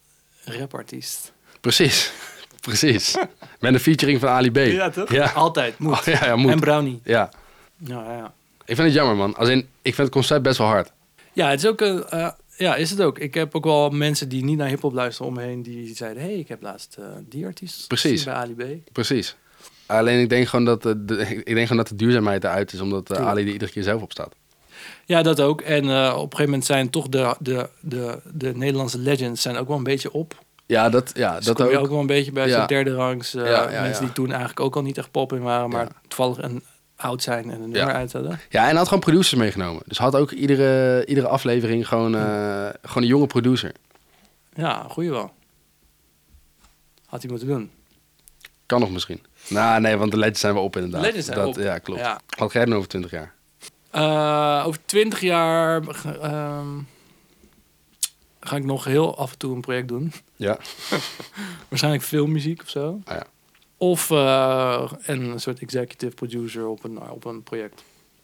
Speaker 1: rapartiest.
Speaker 2: Precies. Precies. Met een featuring van Ali B. Ja,
Speaker 1: Altijd, moet.
Speaker 2: Oh, ja, ja, moet.
Speaker 1: En Brownie.
Speaker 2: ja.
Speaker 1: Ja, ja.
Speaker 2: Ik vind het jammer, man. Als in, ik vind het concept best wel hard.
Speaker 1: ja, het is ook een... eh, ja, is het ook. Ik heb ook wel mensen die niet naar hiphop luisteren omheen... die zeiden, hé, hey, ik heb laatst eh, die artiest
Speaker 2: Precies.
Speaker 1: gezien bij Ali B.
Speaker 2: Precies. Alleen ik denk gewoon dat de, de- ik denk gewoon dat de duurzaamheid eruit is, omdat eh,
Speaker 1: Tuurlijk.
Speaker 2: Ali er iedere keer zelf op staat.
Speaker 1: Ja, dat ook. En eh, op een gegeven moment zijn toch de, de, de, de Nederlandse legends... zijn ook wel een beetje op.
Speaker 2: Ja, dat, ja,
Speaker 1: Dus
Speaker 2: dat
Speaker 1: kom
Speaker 2: ook.
Speaker 1: je ook wel een beetje bij
Speaker 2: Ja.
Speaker 1: zo'n derde rangs. eh,
Speaker 2: Ja, ja,
Speaker 1: mensen
Speaker 2: ja.
Speaker 1: die toen eigenlijk ook al niet echt pop in waren... maar
Speaker 2: Ja.
Speaker 1: toevallig een oud zijn en een nummer uit hadden.
Speaker 2: Ja, en hij had gewoon producers meegenomen. Dus had ook iedere, iedere aflevering gewoon, eh, gewoon een jonge producer.
Speaker 1: Ja, goeie wel. Had hij moeten doen.
Speaker 2: Kan nog misschien. Nou, nee, want de legends zijn wel op inderdaad.
Speaker 1: Legends zijn
Speaker 2: dat,
Speaker 1: op.
Speaker 2: Ja, klopt.
Speaker 1: Ja.
Speaker 2: Wat ga jij doen over 20 jaar?
Speaker 1: Eh, over twintig jaar ehm, ga ik nog heel af en toe een project doen.
Speaker 2: Ja.
Speaker 1: Waarschijnlijk filmmuziek of zo.
Speaker 2: Ah, ja.
Speaker 1: Of eh, een soort executive producer op een, op een project.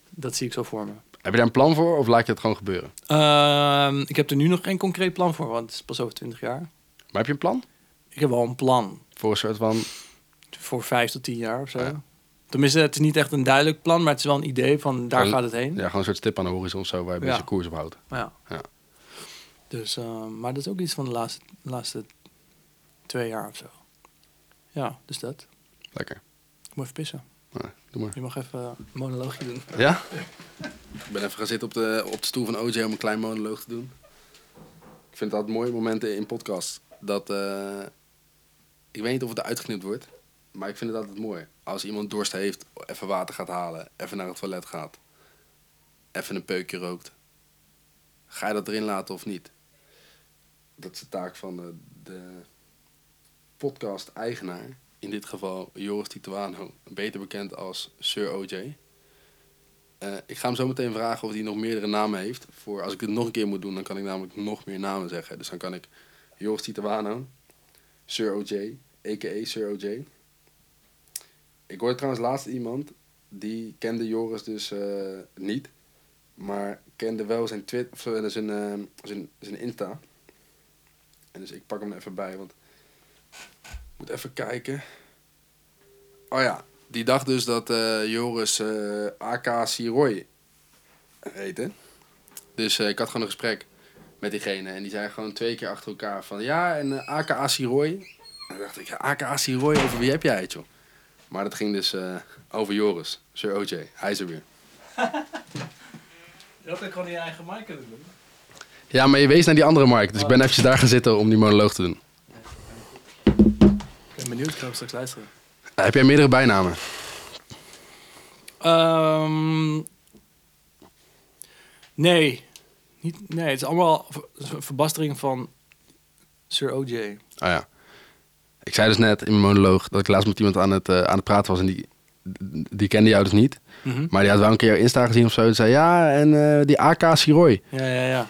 Speaker 1: Dat zie ik zo voor me.
Speaker 2: Heb je daar een plan voor of laat je het gewoon gebeuren?
Speaker 1: Ehm, ik heb er nu nog geen concreet plan voor, want het is pas over twintig jaar.
Speaker 2: Maar heb je een plan?
Speaker 1: Ik heb wel een plan
Speaker 2: Voor een soort van...
Speaker 1: voor vijf tot tien jaar of zo.
Speaker 2: Ah, ja.
Speaker 1: Tenminste, het is niet echt een duidelijk plan, maar het is wel een idee van daar
Speaker 2: Gewoon-
Speaker 1: gaat het heen.
Speaker 2: Ja, gewoon een soort stip aan de horizon of zo waar je een
Speaker 1: Ja.
Speaker 2: beetje koers op houdt.
Speaker 1: Ja.
Speaker 2: Ja.
Speaker 1: Dus, eh, maar dat is ook iets van de laatste, laatste twee jaar of zo. Ja, dus dat.
Speaker 2: Lekker.
Speaker 1: Ik moet even pissen.
Speaker 2: Nou, doe maar.
Speaker 1: Je mag even eh, een monoloogje doen.
Speaker 2: Ja? Ik ben even gaan zitten op de, op de stoel van OJ om een klein monoloog te doen. Ik vind dat mooie momenten in podcasts. Dat, eh, ik weet niet of het uitgeknipt wordt, maar ik vind het altijd mooi. Als iemand dorst heeft, even water gaat halen, even naar het toilet gaat, even een peukje rookt. Ga je dat erin laten of niet? Dat is de taak van de, de podcast-eigenaar. In dit geval Joris Tituano, beter bekend als Sir OJ. Eh, ik ga hem zo meteen vragen of hij nog meerdere namen heeft. Voor als ik dit nog een keer moet doen, dan kan ik namelijk nog meer namen zeggen. Dus dan kan ik Joris Titawano, Sir OJ, a.k.a. Sir OJ. Ik hoorde trouwens laatst iemand, die kende Joris dus eh, niet, maar kende wel zijn, twit of, eh, zijn, eh, zijn, zijn Insta. En dus ik pak hem er even bij, want ik moet even kijken. Oh ja, die dacht dus dat eh, Joris eh, AK Siroy heette. Dus eh, ik had gewoon een gesprek met diegene. En die zei gewoon twee keer achter elkaar van... Ja, en eh, AKA Siroy. En dan dacht ik, ja, AKA Siroy, over wie heb jij het, joh? Maar dat ging dus eh, over Joris, Sir OJ. Hij is er weer.
Speaker 1: Je had ook gewoon je eigen mic kunnen doen.
Speaker 2: Ja, maar je wees naar die andere markt. Dus ik ben eventjes daar gaan zitten om die monoloog te doen.
Speaker 1: Ik ben benieuwd, ik ga hem straks luisteren.
Speaker 2: heb jij meerdere bijnamen?
Speaker 1: Ehm, nee. Niet, nee, het is allemaal ver- een verbastering van Sir O.J.
Speaker 2: Ah ja. Ik zei dus net in mijn monoloog dat ik laatst met iemand aan het, eh, aan het praten was en die, die kende jou dus niet. Maar die had wel een keer jouw Insta gezien of zo. En zei, ja, en eh, die AK Siroy.
Speaker 1: Ja, ja, ja.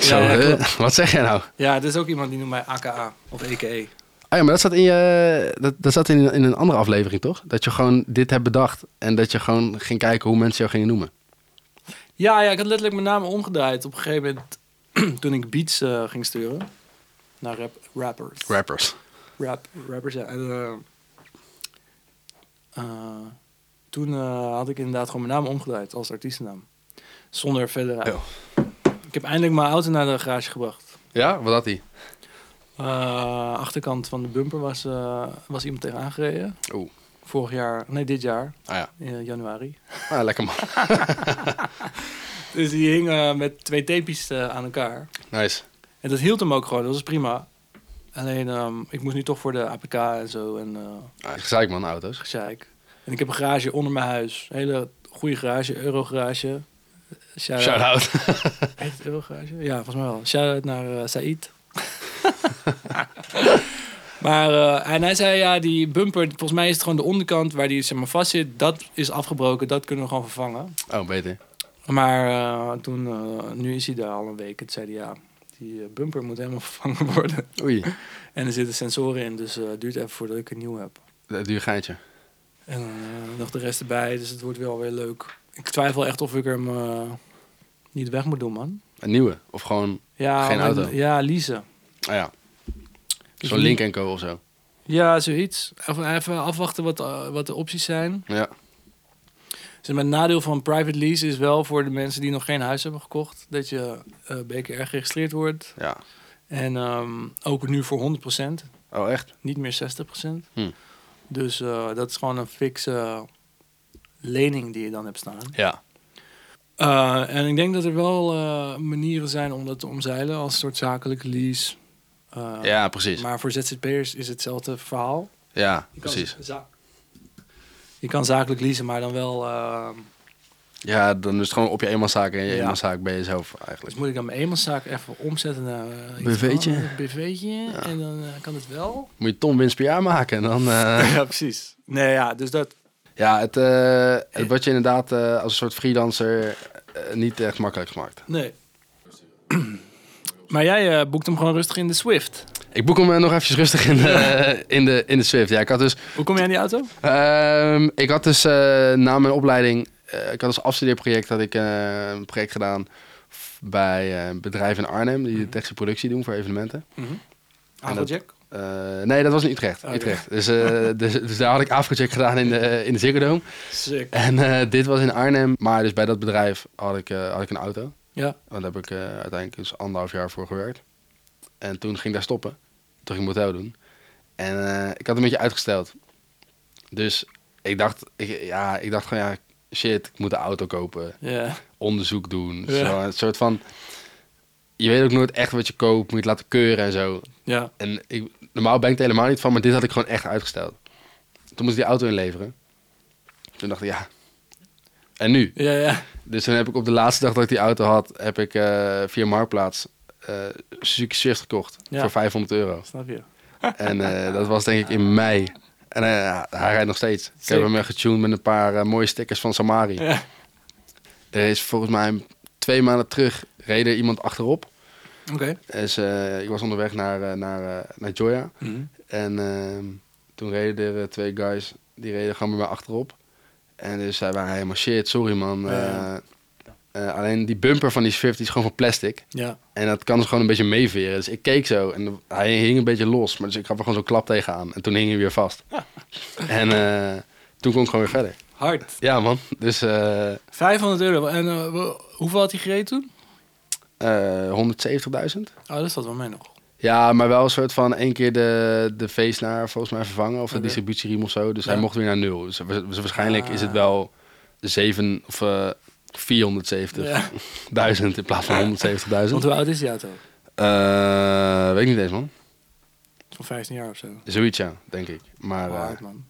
Speaker 2: zo,
Speaker 1: ja,
Speaker 2: eh,
Speaker 1: klopt.
Speaker 2: wat zeg jij nou?
Speaker 1: Ja, het is ook iemand die noemt mij AKA of E. EKE.
Speaker 2: Ah ja, maar dat zat in, je, dat, dat zat in, in een andere aflevering, toch? Dat je gewoon dit hebt bedacht en dat je gewoon ging kijken hoe mensen jou gingen noemen.
Speaker 1: Ja, ja, ik had letterlijk mijn naam omgedraaid op een gegeven moment toen ik beats eh, ging sturen. Naar rap, rappers.
Speaker 2: Rappers.
Speaker 1: Rap, rappers, ja. En, eh, eh, toen eh, had ik inderdaad gewoon mijn naam omgedraaid als artiestennaam. Zonder verder.
Speaker 2: Ja.
Speaker 1: Ik heb eindelijk mijn auto naar de garage gebracht.
Speaker 2: Ja, wat had hij?
Speaker 1: Eh, achterkant van de bumper was, eh, was iemand tegen aangereden.
Speaker 2: Oeh.
Speaker 1: Vorig jaar, nee, dit jaar,
Speaker 2: Ah ja,
Speaker 1: in januari.
Speaker 2: ah, lekker man.
Speaker 1: Dus die hing eh, met twee tapejes eh, aan elkaar.
Speaker 2: Nice.
Speaker 1: En dat hield hem ook gewoon, dat was prima. Alleen, ehm, ik moest nu toch voor de APK en zo en eh
Speaker 2: Ah, gezeik man, auto's.
Speaker 1: gezeik. En ik heb een garage onder mijn huis. Een hele goede garage, Eurogarage. Shout-out.
Speaker 2: Shout out.
Speaker 1: Heet het Eurogarage? Ja, volgens mij wel. Shout-out naar eh, Said. maar, eh, en hij zei, ja, die bumper, volgens mij is het gewoon de onderkant waar die zeg maar, vast zit. Dat is afgebroken, dat kunnen we gewoon vervangen.
Speaker 2: Oh, beter.
Speaker 1: Maar eh, toen, eh, nu is hij daar al een week. Het zei hij, ja, die eh, bumper moet helemaal vervangen worden.
Speaker 2: Oei,
Speaker 1: En er zitten sensoren in, dus eh, het duurt even voordat ik een nieuw heb.
Speaker 2: dat duur geintje.
Speaker 1: En eh, nog de rest erbij, dus het wordt wel weer leuk. Ik twijfel echt of ik hem eh, niet weg moet doen, man.
Speaker 2: Een nieuwe. Of gewoon,
Speaker 1: Ja,
Speaker 2: Geen
Speaker 1: maar-
Speaker 2: auto?
Speaker 1: Ja, leasen.
Speaker 2: ah ja,
Speaker 1: Dus
Speaker 2: zo'n
Speaker 1: niet-
Speaker 2: Link Co of zo.
Speaker 1: Ja, zoiets. Even, even afwachten wat, eh, wat de opties zijn.
Speaker 2: Ja.
Speaker 1: Dus mijn nadeel van private lease is wel voor de mensen die nog geen huis hebben gekocht... dat je eh, BKR geregistreerd wordt.
Speaker 2: ja.
Speaker 1: En ehm, ook nu voor 100%.
Speaker 2: Oh, echt?
Speaker 1: niet meer 60%.
Speaker 2: Hm.
Speaker 1: Dus eh, dat is gewoon een fikse eh, lening die je dan hebt staan.
Speaker 2: Ja.
Speaker 1: Eh, en ik denk dat er wel eh, manieren zijn om dat te omzeilen als een soort zakelijke lease. Eh,
Speaker 2: Ja, precies.
Speaker 1: Maar voor ZZP'ers is hetzelfde verhaal.
Speaker 2: Ja,
Speaker 1: Je kan
Speaker 2: precies.
Speaker 1: za- Je kan zakelijk leasen, maar dan wel... eh,
Speaker 2: Ja, dan is het gewoon op je eenmanszaak en je
Speaker 1: Ja.
Speaker 2: eenmanszaak bij jezelf
Speaker 1: dus
Speaker 2: eigenlijk.
Speaker 1: moet ik dan mijn eenmanszaak even omzetten naar... eh, iets
Speaker 2: BV'tje.
Speaker 1: anders, een BV'tje. En dan eh, kan het wel.
Speaker 2: Moet je ton winst per jaar maken en dan... eh,
Speaker 1: ja, precies. Nee, ja, dus dat...
Speaker 2: Ja, het, eh, het wordt je inderdaad eh, als een soort freelancer eh, niet echt makkelijk gemaakt.
Speaker 1: Nee. Maar jij eh, boekt hem gewoon rustig in de Swift.
Speaker 2: Ik boek hem eh, nog eventjes rustig in de, in de, in de Swift. Ja, ik had dus,
Speaker 1: Hoe kom jij in die auto?
Speaker 2: ehm, ik had dus eh, na mijn opleiding, eh, ik had als afstudeerproject had ik, eh, een project gedaan f- bij eh, een bedrijf in Arnhem die de technische productie doen voor evenementen.
Speaker 1: Mhm. Applejack.
Speaker 2: Eh, nee, dat was in Utrecht.
Speaker 1: Oh, ja.
Speaker 2: Utrecht. Dus, eh, dus, dus daar had ik afgecheck gedaan in de, eh, in de Ziggo Dome.
Speaker 1: Sick.
Speaker 2: En eh, dit was in Arnhem. Maar dus bij dat bedrijf had ik, eh, had ik een auto.
Speaker 1: Ja.
Speaker 2: Want daar heb ik eh, uiteindelijk dus anderhalf jaar voor gewerkt. En toen ging ik daar stoppen. Toen ging ik motel doen. En eh, ik had een beetje uitgesteld. Dus ik dacht, ik, ja, ik dacht gewoon, ja, shit, ik moet een auto kopen.
Speaker 1: Ja.
Speaker 2: Onderzoek doen.
Speaker 1: Ja.
Speaker 2: Zo, een soort van, je weet ook nooit echt wat je koopt. Moet je het laten keuren en zo.
Speaker 1: Ja.
Speaker 2: En ik, normaal ben ik er helemaal niet van, maar dit had ik gewoon echt uitgesteld. Toen moest ik die auto inleveren. Toen dacht ik, ja, en nu?
Speaker 1: Ja, ja.
Speaker 2: Dus toen heb ik op de laatste dag dat ik die auto had, heb ik eh, via Marktplaats eh Suzuki Swift gekocht
Speaker 1: Ja.
Speaker 2: voor 500 euro.
Speaker 1: Snap je?
Speaker 2: En eh, dat was denk ik in mei. En eh, hij rijdt nog steeds. Ik heb
Speaker 1: Sick.
Speaker 2: hem eh, getuned met een paar eh, mooie stickers van Samari.
Speaker 1: Ja.
Speaker 2: Er is volgens mij twee maanden terug reden iemand achterop.
Speaker 1: Oké.
Speaker 2: Dus eh, ik was onderweg naar, eh, naar, eh, naar Joya.
Speaker 1: Mhm.
Speaker 2: En ehm, toen reden er eh, twee guys, die reden gewoon bij mij achterop. En dus zij waren helemaal shit, sorry man.
Speaker 1: Ja, ja.
Speaker 2: eh, eh, alleen die bumper van die Swift die is gewoon van plastic.
Speaker 1: Ja.
Speaker 2: En dat kan dus gewoon een beetje meeveren. Dus ik keek zo en hij hing een beetje los. Maar dus ik gaf er gewoon zo'n klap tegenaan. En toen hing hij weer vast. en eh, toen kon ik gewoon weer verder.
Speaker 1: Hard.
Speaker 2: Ja man, dus eh,
Speaker 1: 500 euro. En eh, wo- hoeveel had hij gereden toen?
Speaker 2: eh, 170.000.
Speaker 1: Oh, dat staat wel mee nog.
Speaker 2: Ja, maar wel een soort van één keer de, de veesnaar volgens mij vervangen. Of de
Speaker 1: Oké.
Speaker 2: distributieriem of zo. Dus
Speaker 1: Ja.
Speaker 2: hij mocht weer naar nul. Dus, wa- dus waarschijnlijk
Speaker 1: Ah.
Speaker 2: is het wel 7 of eh, 470.000
Speaker 1: Ja.
Speaker 2: in plaats van 170.000.
Speaker 1: Want hoe oud is die auto?
Speaker 2: Eh, weet ik niet eens man.
Speaker 1: Van 15 jaar of zo.
Speaker 2: Zoiets ja, denk ik. Maar eh,
Speaker 1: Hard, man.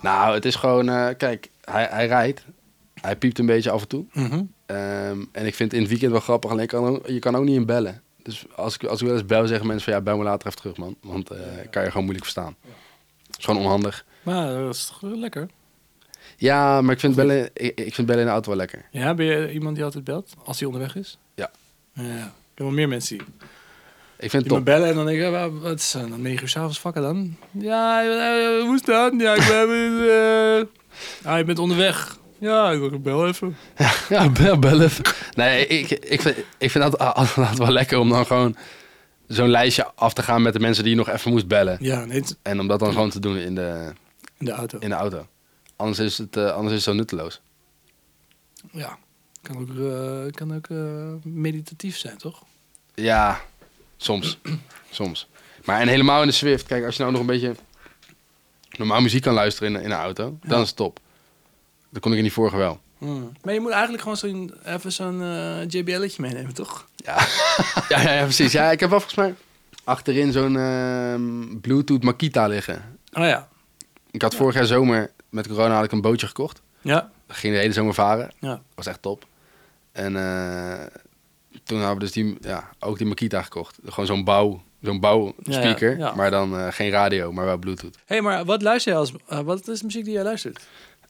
Speaker 2: nou, het is gewoon... eh, kijk, hij, hij rijdt. Hij piept een beetje af en toe.
Speaker 1: Mhm.
Speaker 2: Ehm, en ik vind het in het weekend wel grappig. Alleen je kan ook, je kan ook niet in bellen. Dus als ik, als ik wel eens bel, zeggen mensen van ja, bel me later even terug, man. Want eh kan je gewoon moeilijk verstaan. Het is gewoon onhandig.
Speaker 1: Maar eh, dat is toch lekker.
Speaker 2: Ja, maar ik vind, bellen, ik, ik vind bellen in de auto wel lekker.
Speaker 1: Ja, ben je iemand die altijd belt? Als hij onderweg is?
Speaker 2: Ja.
Speaker 1: Ja. Ik heb wel meer mensen die,
Speaker 2: Ik vind het
Speaker 1: die me
Speaker 2: top.
Speaker 1: bellen en dan denk ik, "Ja, wat is het, dan 9 uur s'avonds vakken dan? Ja, eh, hoe is dat? Ja, ik ben... eh, ah, je bent onderweg. Ja, ik bel even.
Speaker 2: Ja, bel, bel even. Nee, ik, ik vind, ik vind het altijd- altijd wel lekker om dan gewoon zo'n lijstje af te gaan met de mensen die je nog even moest bellen.
Speaker 1: Ja, nee, het-
Speaker 2: En om dat dan gewoon te doen in de,
Speaker 1: in de auto.
Speaker 2: in de auto. Anders is het, eh, anders is het zo nutteloos.
Speaker 1: Ja. Kan ook, eh, kan ook eh, meditatief zijn, toch?
Speaker 2: Ja, soms. soms. Maar en helemaal in de Swift. Kijk, als je nou nog een beetje normaal muziek kan luisteren in, in een auto, dan is het top. Dat kon ik in die vorige wel.
Speaker 1: Maar je moet eigenlijk gewoon zo'n, even zo'n eh JBL'tje meenemen, toch?
Speaker 2: Ja. ja, ja, ja, precies. Ja, ik heb wel volgens mij achterin zo'n ehm, Bluetooth Makita liggen.
Speaker 1: Oh ja.
Speaker 2: Ik had vorig jaar zomer, met corona had ik een bootje gekocht.
Speaker 1: Ja.
Speaker 2: Ging de hele zomer varen.
Speaker 1: Ja.
Speaker 2: was echt top. En eh, toen hadden we dus die, ja, ook die Makita gekocht. Gewoon zo'n bouw, zo'n
Speaker 1: Ja, ja,
Speaker 2: bouwspeaker.
Speaker 1: ja.
Speaker 2: Maar dan eh, geen radio, maar wel Bluetooth.
Speaker 1: Hé, hey, maar wat luister jij als... eh, wat is de muziek die jij luistert?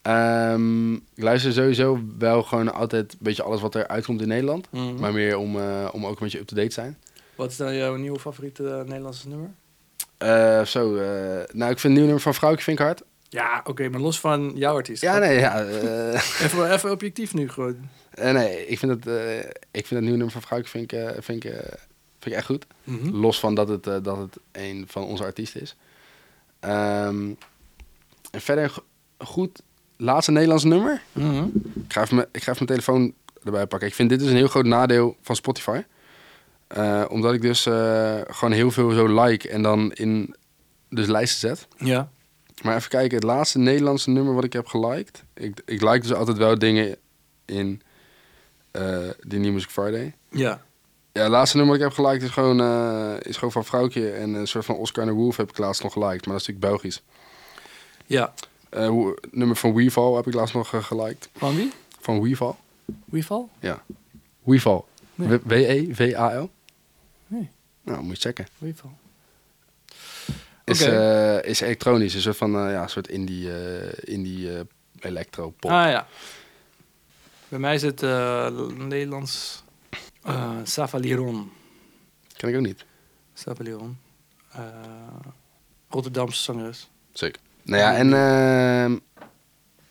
Speaker 2: Ehm, ik luister sowieso wel gewoon altijd een beetje alles wat er uitkomt in Nederland.
Speaker 1: Mhm.
Speaker 2: Maar meer om, eh, om ook een beetje up-to-date te zijn.
Speaker 1: Wat is dan jouw nieuwe favoriete eh, Nederlandse nummer?
Speaker 2: Eh, zo, eh, nou ik vind het nieuw nummer van Vrouwtje vind ik hard.
Speaker 1: Ja, oké, maar los van jouw artiest.
Speaker 2: Ja, nee, ja. eh, eh,
Speaker 1: Even, even objectief nu gewoon.
Speaker 2: nee, ik vind het, eh, ik vind het nieuwe nummer van Vrouwtje vind ik, eh, vind ik, eh, vind ik echt goed.
Speaker 1: Mhm.
Speaker 2: Los van dat het, eh, dat het een van onze artiesten is. Ehm, en verder een go- goed laatste Nederlands nummer. Ik ga even mijn- ik ga even mijn telefoon erbij pakken. Ik vind dit dus een heel groot nadeel van Spotify. Eh, omdat ik dus eh, gewoon heel veel zo like en dan in dus lijsten zet.
Speaker 1: Ja.
Speaker 2: Maar even kijken, het laatste Nederlandse nummer wat ik heb geliked. Ik, ik like dus altijd wel dingen in eh die New Music Friday.
Speaker 1: Ja.
Speaker 2: Ja, het laatste nummer dat ik heb geliked is gewoon, eh, is gewoon van Vrouwtje. En een soort van Oscar en de Wolf heb ik laatst nog geliked. Maar dat is natuurlijk Belgisch.
Speaker 1: Ja.
Speaker 2: Eh, hoe- het nummer van Weeval heb ik laatst nog eh, geliked.
Speaker 1: Van wie?
Speaker 2: Van Weeval?
Speaker 1: Weeval?
Speaker 2: Ja. Weeval.
Speaker 1: Nee.
Speaker 2: W- E W-E-V-A-L?
Speaker 1: Nee.
Speaker 2: Nou, moet je checken.
Speaker 1: Weeval.
Speaker 2: Is,
Speaker 1: Oké.
Speaker 2: eh, is elektronisch. Een soort van eh, ja, een soort indie, eh, indie eh, electro-pop.
Speaker 1: Ah ja. Bij mij is het eh, Nederlands eh Savaliron.
Speaker 2: Ken ik ook niet.
Speaker 1: Savaliron. Eh, Rotterdamse zangeres.
Speaker 2: Zeker. Nou ja, en ehm,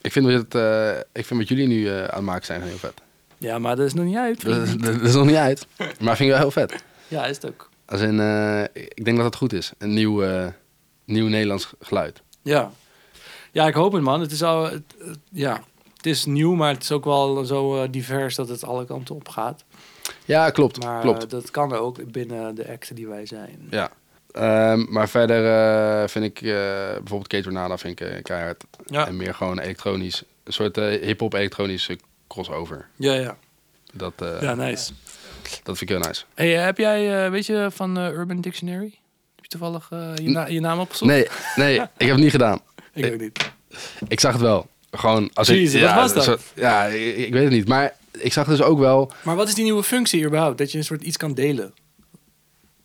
Speaker 2: ik, vind wat het, eh, ik vind wat jullie nu eh, aan het maken zijn heel vet.
Speaker 1: Ja, maar dat is nog niet uit.
Speaker 2: Dat, is- dat is nog niet uit, maar vind ik wel heel vet.
Speaker 1: Ja, is het ook.
Speaker 2: Als in, eh, ik denk dat het goed is. Een nieuw, eh, nieuw Nederlands geluid.
Speaker 1: Ja. Ja, ik hoop het, man. Het is al... het- het- ja. Het is nieuw, maar het is ook wel zo eh, divers dat het alle kanten op gaat.
Speaker 2: Ja, klopt.
Speaker 1: Maar
Speaker 2: klopt.
Speaker 1: eh, dat kan ook binnen de acten die wij zijn.
Speaker 2: Ja. Ehm, maar verder eh, vind ik eh, bijvoorbeeld Kate Renata vind ik eh, keihard.
Speaker 1: Ja.
Speaker 2: En meer gewoon elektronisch. Een soort eh, hip-hop elektronische crossover.
Speaker 1: Ja, ja.
Speaker 2: Dat, eh,
Speaker 1: Ja, nice.
Speaker 2: dat vind ik heel nice.
Speaker 1: Hey, eh, heb jij, eh, weet je, van eh, Urban Dictionary? Heb je toevallig eh, je, na- je naam opgezocht?
Speaker 2: Nee, nee, ik heb het niet gedaan.
Speaker 1: Ik ook niet.
Speaker 2: Ik zag het wel. Gewoon als
Speaker 1: Jezus,
Speaker 2: ik,
Speaker 1: wat was dat?
Speaker 2: ja, ik, ik weet het niet. Maar ik zag dus ook wel.
Speaker 1: Maar wat is die nieuwe functie überhaupt? Dat je een soort iets kan delen.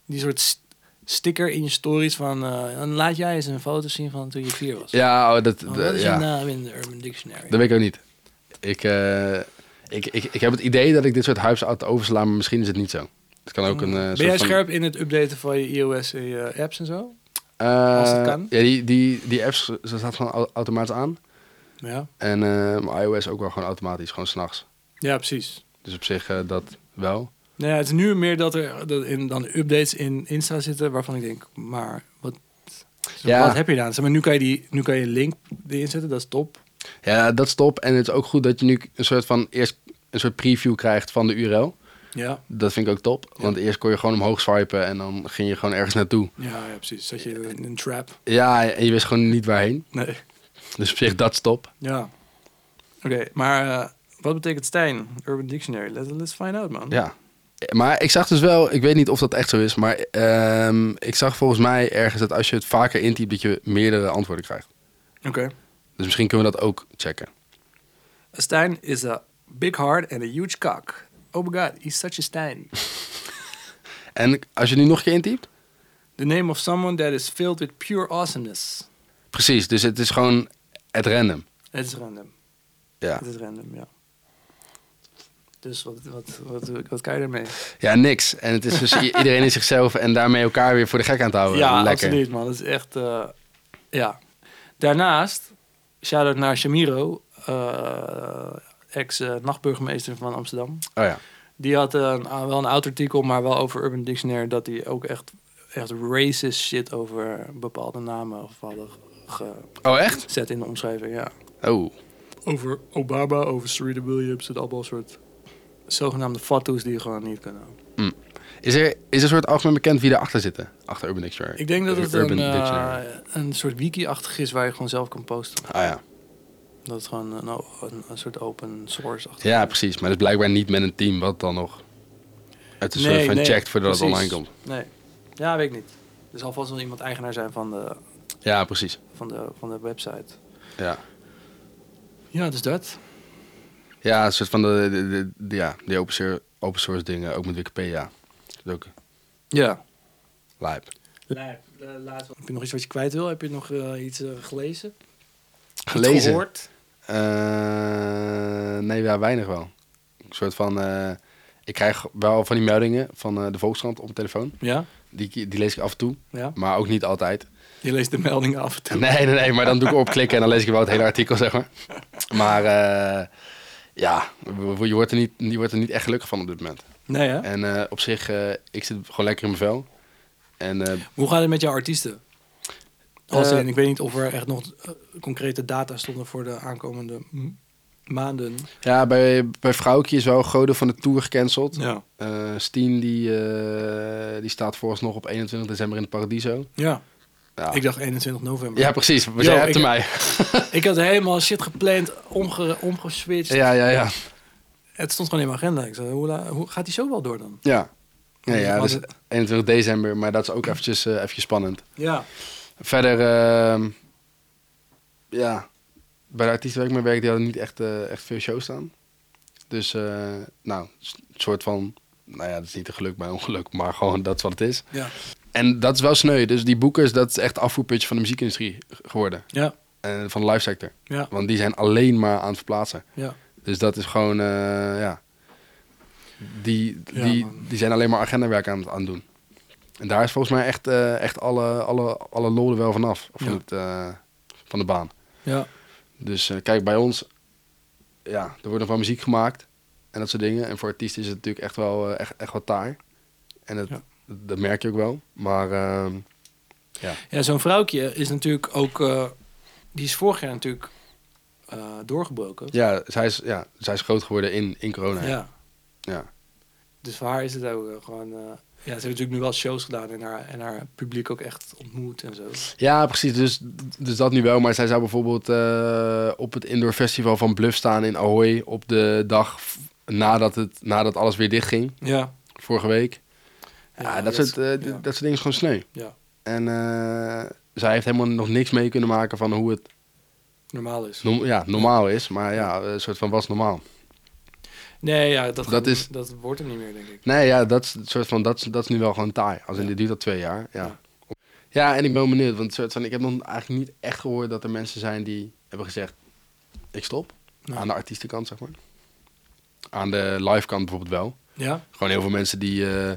Speaker 1: Die soort st- sticker in je stories van... eh, dan laat jij eens een foto zien van toen je vier was.
Speaker 2: Ja, oh, dat,
Speaker 1: Oh,
Speaker 2: dat-
Speaker 1: dat is
Speaker 2: ja,
Speaker 1: je naam in de Urban Dictionary.
Speaker 2: dat weet ik ook niet. Ik, eh, ik, ik, ik heb het idee dat ik dit soort hypes altijd oversla, maar misschien is het niet zo. Het kan ook een. eh, soort
Speaker 1: Hmm. ben jij
Speaker 2: van-
Speaker 1: scherp in het updaten van je iOS en je apps en zo?
Speaker 2: Eh,
Speaker 1: als het kan?
Speaker 2: Ja, die, die, die apps ze staat gewoon au- automatisch aan.
Speaker 1: Ja,
Speaker 2: En eh, maar iOS ook wel gewoon automatisch, gewoon s'nachts.
Speaker 1: ja precies.
Speaker 2: Dus op zich eh, dat wel.
Speaker 1: Nou ja, het is nu meer dat er dat in, dan updates in Insta zitten waarvan ik denk, maar wat,
Speaker 2: Ja.
Speaker 1: wat heb je daar? Zeg maar, nu kan je, die, nu kan je een link erin zetten, dat is top.
Speaker 2: Ja, dat is top. En het is ook goed dat je nu een soort van eerst een soort preview krijgt van de URL.
Speaker 1: Ja,
Speaker 2: Dat vind ik ook top. Want eerst kon je gewoon omhoog swipen en dan ging je gewoon ergens naartoe.
Speaker 1: ja, ja precies. Zat je in een trap?
Speaker 2: Ja, en je wist gewoon niet waarheen.
Speaker 1: Nee.
Speaker 2: Dus op zich, dat is top.
Speaker 1: Ja. Oké, maar eh, wat betekent Stijn? Urban Dictionary. Let, let's find out, man.
Speaker 2: Ja. Maar ik zag dus wel, ik weet niet of dat echt zo is, maar ehm, ik zag volgens mij ergens dat als je het vaker intypt, dat je meerdere antwoorden krijgt.
Speaker 1: Oké.
Speaker 2: Dus misschien kunnen we dat ook checken.
Speaker 1: A Stein is a big heart and a huge cock. Oh my god, he's such a Stein.
Speaker 2: En als je nu nog een keer intypt?
Speaker 1: The name of someone that is filled with pure awesomeness.
Speaker 2: Precies, dus het is gewoon het random.
Speaker 1: Het is random.
Speaker 2: Ja,
Speaker 1: Het is random, ja. Dus wat, wat, wat, wat kan je
Speaker 2: Oh,
Speaker 1: ermee?
Speaker 2: ja niks. En het is dus i- iedereen in zichzelf en daarmee elkaar weer voor de gek aan te houden.
Speaker 1: ja,
Speaker 2: Lekker.
Speaker 1: absoluut, man. Dat is echt... eh, ja. Daarnaast, shout-out naar Shamiro, eh, ex-nachtburgemeester van Amsterdam.
Speaker 2: Oh ja.
Speaker 1: Die had een, ah, wel een oud artikel, maar wel over Urban Dictionary... dat hij ook echt, echt racist shit over bepaalde namen of hadden ge,
Speaker 2: Oh echt?
Speaker 1: zet in de omschrijving, ja.
Speaker 2: Oh.
Speaker 1: Over Obama, over Serena Williams, het allemaal soort zogenaamde fatsoes die je gewoon niet kunnen.
Speaker 2: Is er, is er een soort algemeen bekend wie erachter zitten? Achter Urban Dictionary.
Speaker 1: Ik denk dat het
Speaker 2: Urban
Speaker 1: een, eh,
Speaker 2: Dictionary.
Speaker 1: een soort wiki-achtig is waar je gewoon zelf kan posten.
Speaker 2: Ah ja.
Speaker 1: Dat het gewoon een, o- een, een soort open source achtig
Speaker 2: Ja, precies. Maar dat is blijkbaar niet met een team, wat dan nog? Het is een soort van checked voordat het online komt.
Speaker 1: Nee. Ja, weet ik niet. Er zal vast wel iemand eigenaar zijn van de,
Speaker 2: Ja, precies.
Speaker 1: van de, van de website.
Speaker 2: Ja,
Speaker 1: Ja, dus dat.
Speaker 2: ja een soort van de, de, de- de- ja, die open source, open source dingen, ook met Wikipedia. Dat is ook
Speaker 1: Ja.
Speaker 2: live.
Speaker 1: Heb je nog iets wat je kwijt wil? Heb je nog eh, iets eh, gelezen? Iets
Speaker 2: Gelezen?
Speaker 1: gehoord?
Speaker 2: Eh, nee, ja, weinig wel. Een soort van, eh, ik krijg wel van die meldingen van eh, de Volkskrant op mijn telefoon.
Speaker 1: Ja.
Speaker 2: Die, die lees ik af en toe,
Speaker 1: ja.
Speaker 2: maar ook niet altijd.
Speaker 1: Je leest de meldingen af en toe.
Speaker 2: Nee, nee, nee, maar dan doe ik opklikken en dan lees ik wel het hele artikel, zeg maar. Maar eh, ja, je wordt, er niet, je wordt er niet echt gelukkig van op dit moment.
Speaker 1: Nee, hè?
Speaker 2: En eh, op zich, eh, ik zit gewoon lekker in mijn vel. En eh,
Speaker 1: Hoe gaat het met jouw artiesten? Als
Speaker 2: Eh,
Speaker 1: in, ik weet niet of er echt nog eh, concrete data stonden voor de aankomende m- maanden.
Speaker 2: ja, bij, bij Vrouwkje is wel Goden van de Tour gecanceld. Eh
Speaker 1: Ja.
Speaker 2: Steen, die, eh, die staat vooralsnog op 21 december in het Paradiso.
Speaker 1: Ja,
Speaker 2: Ja,
Speaker 1: ik dacht 21 november.
Speaker 2: ja precies. We
Speaker 1: Yo,
Speaker 2: zijn
Speaker 1: ik-
Speaker 2: te mij.
Speaker 1: Ik had helemaal shit gepland, omge, omgeswitcht.
Speaker 2: ja, ja, ja.
Speaker 1: Het stond gewoon in mijn agenda. Ik zei, hoe, la- hoe gaat die zo wel door dan?
Speaker 2: Ja, ja,
Speaker 1: Dus
Speaker 2: ja
Speaker 1: was
Speaker 2: dus
Speaker 1: het-
Speaker 2: 21 december, maar dat is ook eventjes, eh, eventjes spannend.
Speaker 1: Ja.
Speaker 2: Verder, ehm, ja, bij de artiesten waar ik mee werk, die hadden niet echt, eh, echt veel shows staan. Dus, eh, nou, s- een soort van, nou ja, dat is niet een geluk bij een ongeluk, maar gewoon dat is wat het is.
Speaker 1: Ja.
Speaker 2: En dat is wel sneu, dus die boekers, dat is echt afvoerputje van de muziekindustrie g- geworden.
Speaker 1: Ja.
Speaker 2: En van de live sector.
Speaker 1: Ja.
Speaker 2: Want die zijn alleen maar aan het verplaatsen.
Speaker 1: Ja.
Speaker 2: Dus dat is gewoon, eh, ja, die,
Speaker 1: Ja,
Speaker 2: die,
Speaker 1: man.
Speaker 2: die zijn alleen maar agendawerk aan het aan het doen. En daar is volgens mij echt, eh, echt alle, alle, alle lol er wel vanaf, van,
Speaker 1: Ja.
Speaker 2: het, eh, van de baan.
Speaker 1: Ja.
Speaker 2: Dus eh, kijk, bij ons, ja, er wordt nog wel muziek gemaakt en dat soort dingen. En voor artiesten is het natuurlijk echt wel, eh, echt, echt wel taai. En dat,
Speaker 1: Ja.
Speaker 2: dat, dat merk je ook wel. Maar ehm,
Speaker 1: Ja, zo'n vrouwtje is natuurlijk ook... eh, die is vorig jaar natuurlijk eh, doorgebroken.
Speaker 2: ja, zij is, ja, zij is groot geworden in, in corona. Ja.
Speaker 1: Ja. Dus voor haar is het ook eh, gewoon... eh, ja, ze heeft natuurlijk nu wel shows gedaan en haar, en haar publiek ook echt ontmoet en zo.
Speaker 2: Ja, precies. Dus, dus dat nu wel. Maar zij zou bijvoorbeeld eh, op het indoor festival van Bluff staan in Ahoy op de dag v- nadat, het, nadat alles weer dichtging,
Speaker 1: Ja.
Speaker 2: vorige week. Ja, dat, soort, eh, d-
Speaker 1: ja.
Speaker 2: dat soort dingen is gewoon sneu.
Speaker 1: Ja.
Speaker 2: En eh, zij heeft helemaal nog niks mee kunnen maken van hoe het
Speaker 1: normaal is.
Speaker 2: Norm- ja, normaal is, maar ja, een soort van was normaal.
Speaker 1: Nee, ja, dat,
Speaker 2: Dat is-
Speaker 1: dat wordt hem niet meer, denk ik.
Speaker 2: Nee, ja, dat is, een soort van, dat is, dat is nu wel gewoon taai. Als in,
Speaker 1: Ja.
Speaker 2: dit duurt al twee jaar. Ja.
Speaker 1: Ja.
Speaker 2: ja, en ik ben wel benieuwd, want een soort van, ik heb nog eigenlijk niet echt gehoord dat er mensen zijn die hebben gezegd: ik stop.
Speaker 1: Nee.
Speaker 2: Ah, nou. Aan de artiestenkant, zeg maar. Aan de live kant bijvoorbeeld wel.
Speaker 1: Ja?
Speaker 2: Gewoon heel veel mensen die, eh,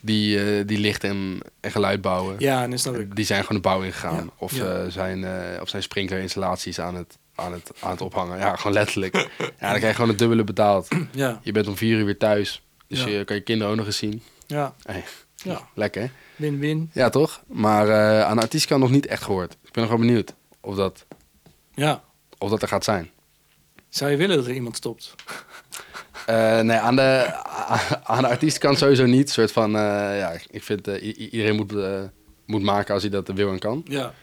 Speaker 2: die, eh, die licht en, en geluid bouwen.
Speaker 1: Ja, en is dat ik.
Speaker 2: Die zijn gewoon de bouw ingegaan.
Speaker 1: Ja.
Speaker 2: Of,
Speaker 1: Ja.
Speaker 2: eh, zijn, eh, of zijn sprinklerinstallaties aan het, aan, het, aan het ophangen. Ja, gewoon letterlijk. ja, dan krijg je gewoon het dubbele betaald.
Speaker 1: Ja.
Speaker 2: Je bent om vier uur weer thuis. Dus
Speaker 1: Ja.
Speaker 2: je kan je kinderen ook nog eens zien.
Speaker 1: Ja.
Speaker 2: Hey,
Speaker 1: Ja.
Speaker 2: Lekker, hè?
Speaker 1: Win-win.
Speaker 2: Ja, toch? Maar eh, aan de artiestkant nog niet echt gehoord. Ik ben nog wel benieuwd of dat,
Speaker 1: Ja.
Speaker 2: of dat er gaat zijn.
Speaker 1: Zou je willen dat er iemand stopt?
Speaker 2: Eh, nee, aan de, aan de artiestenkant sowieso niet. soort van, eh, ja, ik vind eh, i- i- iedereen moet, eh, moet maken als hij dat wil en kan.
Speaker 1: Ja.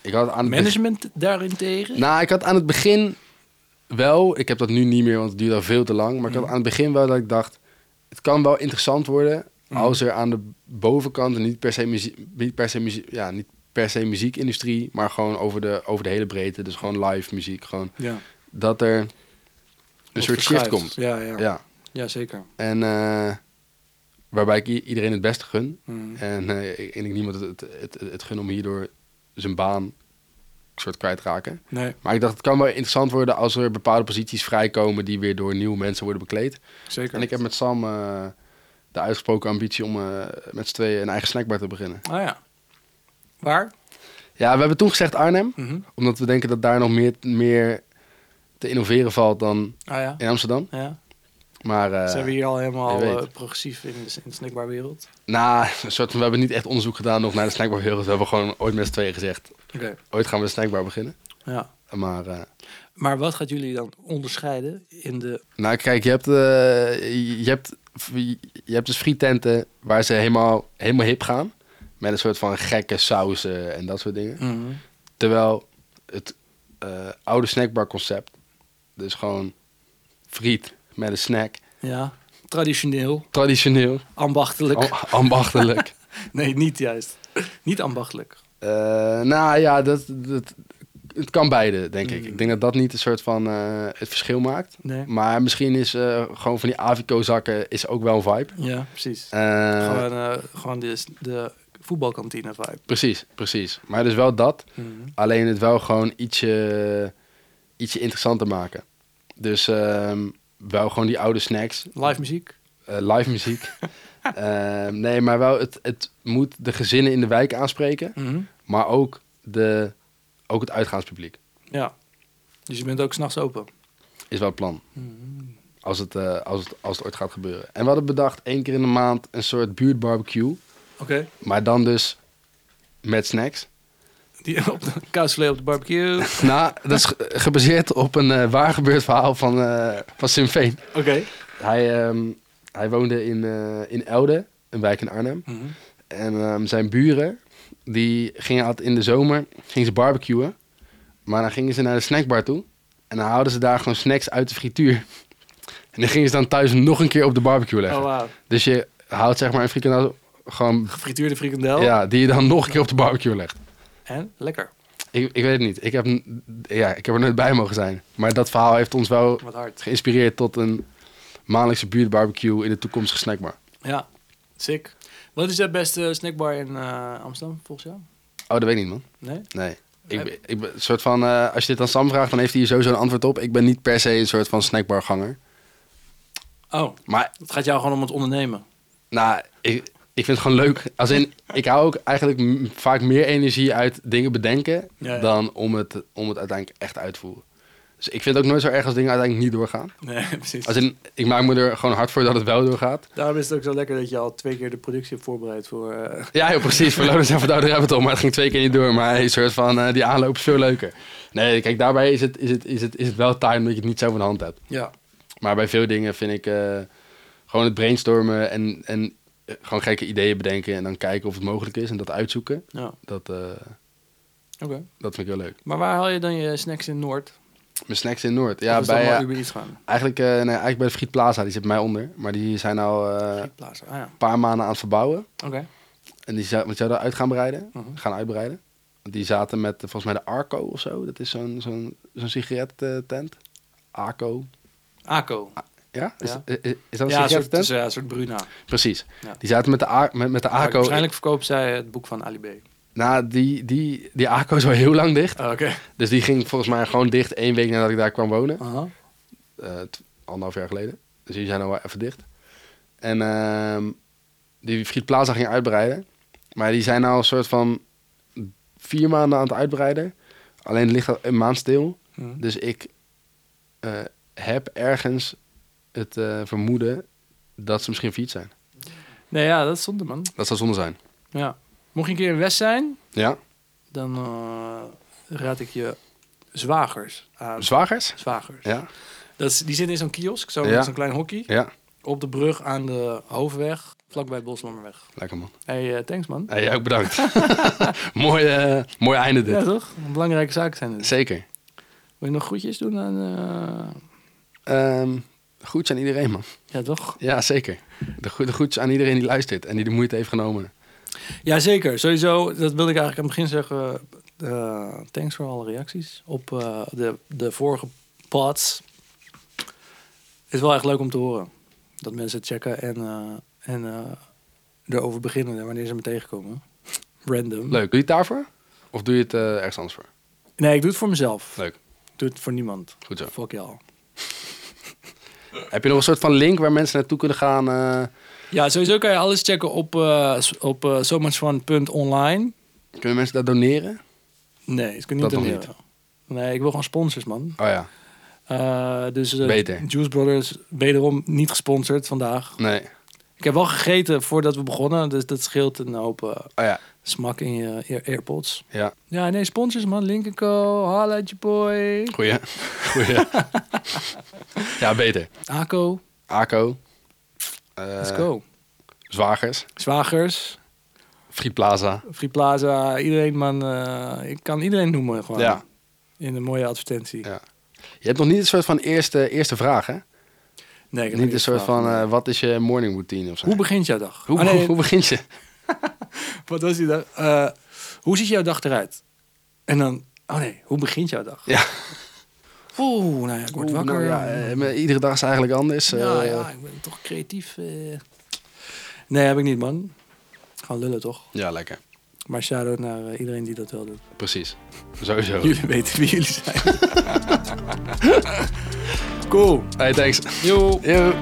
Speaker 2: Ik had aan het begin-
Speaker 1: Management daarentegen?
Speaker 2: Nou, ik had aan het begin wel, ik heb dat nu niet meer, want het duurde al veel te lang. Maar
Speaker 1: Mm.
Speaker 2: ik had aan het begin wel dat ik dacht, het kan wel interessant worden
Speaker 1: Mm.
Speaker 2: als er aan de bovenkant, en niet per se muziek, niet per se muziek, ja, niet per se muziekindustrie, maar gewoon over de, over de hele breedte, dus gewoon live muziek, gewoon
Speaker 1: ja.
Speaker 2: dat er een
Speaker 1: Wat
Speaker 2: soort shift
Speaker 1: verschuift.
Speaker 2: komt.
Speaker 1: Ja, ja. ja.
Speaker 2: Ja.
Speaker 1: zeker.
Speaker 2: En eh, waarbij ik i- iedereen het beste gun.
Speaker 1: Mhm.
Speaker 2: En eh, ik, en ik niemand het, het, het, het gun om hierdoor zijn baan soort kwijt te raken.
Speaker 1: Nee,
Speaker 2: Maar ik dacht, het kan wel interessant worden als er bepaalde posities vrijkomen die weer door nieuwe mensen worden bekleed.
Speaker 1: zeker.
Speaker 2: En ik heb met Sam eh, de uitgesproken ambitie om eh, met z'n tweeën een eigen snackbar te beginnen.
Speaker 1: Ah ja. Waar?
Speaker 2: Ja, we hebben toen gezegd Arnhem,
Speaker 1: Mhm.
Speaker 2: omdat we denken dat daar nog meer, meer te innoveren valt dan
Speaker 1: Ah ja.
Speaker 2: in Amsterdam.
Speaker 1: ja.
Speaker 2: Maar eh,
Speaker 1: Zijn we hier al helemaal
Speaker 2: je weet.
Speaker 1: eh, progressief in de, in de snackbarwereld?
Speaker 2: nou, een soort van- we hebben niet echt onderzoek gedaan nog naar de snackbarwereld. We hebben gewoon ooit met z'n tweeën gezegd,
Speaker 1: Oké.
Speaker 2: ooit gaan we een snackbar beginnen.
Speaker 1: Ja.
Speaker 2: Maar eh,
Speaker 1: Maar wat gaat jullie dan onderscheiden in de...
Speaker 2: Nou, kijk, je hebt, eh, je hebt, je hebt dus frietenten waar ze helemaal, helemaal hip gaan. Met een soort van gekke sauzen en dat soort dingen.
Speaker 1: Mhm.
Speaker 2: Terwijl het eh, oude snackbar concept, dus gewoon friet met een snack,
Speaker 1: Ja, traditioneel,
Speaker 2: traditioneel,
Speaker 1: ambachtelijk.
Speaker 2: am- ambachtelijk.
Speaker 1: Nee, niet juist. Niet ambachtelijk.
Speaker 2: Eh, nou ja, dat, dat, het kan beide, denk ik.
Speaker 1: Mm.
Speaker 2: Ik denk dat dat niet een soort van eh, het verschil maakt.
Speaker 1: Nee.
Speaker 2: Maar misschien is eh, gewoon van die Avico-zakken is ook wel een vibe.
Speaker 1: Ja, precies.
Speaker 2: Eh,
Speaker 1: gewoon eh, gewoon de, de voetbalkantine vibe.
Speaker 2: Precies, precies. Maar dus wel dat.
Speaker 1: Mhm.
Speaker 2: Alleen het wel gewoon ietsje, ietsje interessanter maken. Dus ehm, wel gewoon die oude snacks,
Speaker 1: Live muziek.
Speaker 2: eh, live muziek. Ehm, nee, maar wel het, het moet de gezinnen in de wijk aanspreken.
Speaker 1: Mhm.
Speaker 2: Maar ook, de, ook het uitgaanspubliek
Speaker 1: Ja. Dus je bent ook s'nachts open.
Speaker 2: is wel het plan.
Speaker 1: Mhm.
Speaker 2: Als het, eh, als, het, als het ooit gaat gebeuren. En we hadden bedacht één keer in de maand een soort buurtbarbecue.
Speaker 1: Oké.
Speaker 2: Maar dan dus met snacks.
Speaker 1: Die op de kaasvlees op de barbecue. Oké.
Speaker 2: Nou, dat is ge- gebaseerd op een eh, waar gebeurd verhaal van, eh van Sim Veen. Hij, ehm, hij woonde in, eh, in Elde, een wijk in Arnhem.
Speaker 1: Mhm.
Speaker 2: En ehm, zijn buren, die gingen altijd in de zomer gingen ze barbecuen. Maar dan gingen ze naar de snackbar toe. En dan haalden ze daar gewoon snacks uit de frituur. En dan gingen ze dan thuis nog een keer op de barbecue leggen.
Speaker 1: Oh, wauw.
Speaker 2: Dus je houdt zeg maar een frikandel gewoon...
Speaker 1: Gefrituurde frikandel.
Speaker 2: Ja, die je dan nog een keer op de barbecue legt.
Speaker 1: En lekker.
Speaker 2: Ik, ik weet het niet. Ik heb, n- ja, ik heb er nooit bij mogen zijn. Maar dat verhaal heeft ons wel
Speaker 1: Wat hard.
Speaker 2: geïnspireerd tot een maandelijkse buurtbarbecue in de toekomstige snackbar.
Speaker 1: Ja. Sick. Wat is de beste snackbar in eh, Amsterdam volgens jou?
Speaker 2: Oh, dat weet ik niet, man.
Speaker 1: Nee?
Speaker 2: Nee. Ik,
Speaker 1: Heb-
Speaker 2: ben- ik ben een soort van, eh, als je dit aan Sam vraagt, dan heeft hij hier sowieso een antwoord op. Ik ben niet per se een soort van snackbarganger.
Speaker 1: Oh,
Speaker 2: Maar,
Speaker 1: het gaat jou gewoon om het ondernemen.
Speaker 2: nou, ik, ik vind het gewoon leuk. Als in, ik hou ook eigenlijk m- vaak meer energie uit dingen bedenken
Speaker 1: Ja, ja.
Speaker 2: dan om het, om het uiteindelijk echt uit te voeren. Dus ik vind het ook nooit zo erg als dingen uiteindelijk niet doorgaan.
Speaker 1: Nee, precies.
Speaker 2: Als in, ik maak me er gewoon hard voor dat het wel doorgaat.
Speaker 1: Daarom is het ook zo lekker dat je al twee keer de productie hebt voorbereid voor... eh,
Speaker 2: Ja, joh, precies. Voor Lodens en voor Douder hebben we het al, maar het ging twee keer niet door. Maar een soort van, eh, die aanloop is veel leuker. Nee, kijk, daarbij is het, is het, is het, is het wel time dat je het niet zo van de hand hebt.
Speaker 1: ja.
Speaker 2: Maar bij veel dingen vind ik eh, gewoon het brainstormen en, en eh, gewoon gekke ideeën bedenken. En dan kijken of het mogelijk is en dat uitzoeken.
Speaker 1: ja.
Speaker 2: Dat, eh,
Speaker 1: Oké.
Speaker 2: dat vind ik heel leuk.
Speaker 1: Maar waar haal je dan je snacks in Noord?
Speaker 2: Mijn snacks in Noord.
Speaker 1: Of
Speaker 2: Ja,
Speaker 1: is dat
Speaker 2: bij,
Speaker 1: maar
Speaker 2: eh,
Speaker 1: Uber Eats gaan?
Speaker 2: eigenlijk, eh, nee, eigenlijk bij de Friet Plaza, die zit mij onder. Maar die zijn al eh, een
Speaker 1: Plaza. Ah ja.
Speaker 2: paar maanden aan het verbouwen.
Speaker 1: Oké.
Speaker 2: En die, zou- want die zouden uit gaan breiden.
Speaker 1: Mhm.
Speaker 2: Gaan uitbreiden. Want Die zaten met eh, volgens mij de Arco of zo. Dat is zo'n zo'n zo'n sigarettent. Arco.
Speaker 1: Aco.
Speaker 2: Ah, Ja? Is,
Speaker 1: Ja.
Speaker 2: i- i- Is, dat een
Speaker 1: ja, een soort,
Speaker 2: sigarettent?
Speaker 1: dus, ja, een soort Bruna.
Speaker 2: Precies.
Speaker 1: Ja.
Speaker 2: Die zaten met de, A- met, met de
Speaker 1: Maar
Speaker 2: Arco.
Speaker 1: Waarschijnlijk verkoopt zij het boek van Ali B.
Speaker 2: Nou, die, die, die Arco is al heel lang dicht.
Speaker 1: Oh, Oké.
Speaker 2: Dus die ging volgens mij gewoon dicht één week nadat ik daar kwam wonen.
Speaker 1: Aha.
Speaker 2: Eh, t- anderhalf jaar geleden. Dus die zijn al wel even dicht. En ehm, die Friet Plaza ging uitbreiden. Maar die zijn nou een soort van vier maanden aan het uitbreiden. Alleen het ligt al een maand stil.
Speaker 1: Hm.
Speaker 2: Dus ik eh, heb ergens het eh, vermoeden dat ze misschien failliet zijn.
Speaker 1: Nee, ja, dat stond er, man.
Speaker 2: Dat zou zonde zijn.
Speaker 1: Ja. Mocht je een keer in West zijn,
Speaker 2: Ja.
Speaker 1: dan eh, raad ik je zwagers aan.
Speaker 2: Zwagers?
Speaker 1: zwagers.
Speaker 2: Ja.
Speaker 1: Dat is, die zitten in zo'n kiosk, zo-
Speaker 2: Ja.
Speaker 1: zo'n klein hockey.
Speaker 2: Ja.
Speaker 1: Op de brug aan de hoofdweg, vlakbij Bosnommerweg.
Speaker 2: Lekker man.
Speaker 1: Hey, eh, thanks man.
Speaker 2: Hey, jij ook bedankt. mooi, eh, mooi einde dit.
Speaker 1: Ja, toch? Belangrijke zaken zijn het.
Speaker 2: Zeker.
Speaker 1: Wil je nog groetjes doen aan... eh,
Speaker 2: Ehm goed aan iedereen man.
Speaker 1: Ja, toch?
Speaker 2: Ja, zeker. De, goe- de groetjes aan iedereen die luistert en die de moeite heeft genomen.
Speaker 1: Ja, zeker. Sowieso, dat wilde ik eigenlijk aan het begin zeggen. eh, thanks voor alle reacties op eh, de, de vorige pods. Het is wel echt leuk om te horen. Dat mensen het checken en, eh, en eh, erover beginnen wanneer ze me tegenkomen. Random.
Speaker 2: Leuk. Doe je het daarvoor? Of doe je het eh, ergens anders voor?
Speaker 1: Nee, ik doe het voor mezelf.
Speaker 2: Leuk.
Speaker 1: Ik doe het voor niemand.
Speaker 2: Goed zo.
Speaker 1: Fuck y'all.
Speaker 2: Heb je nog een soort van link waar mensen naartoe kunnen gaan? eh,
Speaker 1: Ja, sowieso kan je alles checken op, eh s- op eh somuchfun.online.
Speaker 2: kunnen mensen daar doneren?
Speaker 1: Nee, ik kan niet
Speaker 2: Dat nog
Speaker 1: doneren. Nee, ik wil gewoon sponsors, man.
Speaker 2: Oh ja.
Speaker 1: Eh, dus eh,
Speaker 2: Beter.
Speaker 1: Juice Brothers, wederom niet gesponsord vandaag.
Speaker 2: Nee.
Speaker 1: Ik heb wel gegeten voordat we begonnen, dus dat scheelt een hoop eh,
Speaker 2: Oh ja.
Speaker 1: smak in je ear- earpods.
Speaker 2: Ja.
Speaker 1: Ja, nee, sponsors man. Link Co, Hala Boy,
Speaker 2: Goeie. Goeie. ja, beter.
Speaker 1: Ako,
Speaker 2: Ako. Eh,
Speaker 1: let's go.
Speaker 2: Zwagers.
Speaker 1: Zwagers,
Speaker 2: Free Plaza.
Speaker 1: Free Plaza, iedereen man. eh, ik kan iedereen noemen gewoon.
Speaker 2: Ja.
Speaker 1: In een mooie advertentie.
Speaker 2: Ja. Je hebt nog niet een soort van eerste, eerste vraag, hè?
Speaker 1: Nee, ik heb
Speaker 2: Niet een
Speaker 1: nog
Speaker 2: soort
Speaker 1: gevraagd.
Speaker 2: van, eh, wat is je morning routine of zo?
Speaker 1: Hoe begint jouw dag?
Speaker 2: Hoe, Oh,
Speaker 1: Ah, nee,
Speaker 2: hoe begint je?
Speaker 1: Wat was die dag? Eh, hoe ziet jouw dag eruit? En dan, oh nee, hoe begint jouw dag?
Speaker 2: Ja.
Speaker 1: Oeh, nou ja, ik word
Speaker 2: Oeh,
Speaker 1: wakker.
Speaker 2: nou ja, eh, maar iedere dag is eigenlijk anders.
Speaker 1: ja,
Speaker 2: eh,
Speaker 1: ja, ik ben toch creatief. eh. Nee, heb ik niet, man. Gewoon lullen, toch?
Speaker 2: ja, lekker.
Speaker 1: Maar shout-out naar eh, iedereen die dat wel doet.
Speaker 2: Precies. Sowieso.
Speaker 1: Jullie weten wie jullie zijn. cool.
Speaker 2: Hey, thanks.
Speaker 1: Yo.
Speaker 2: Yo.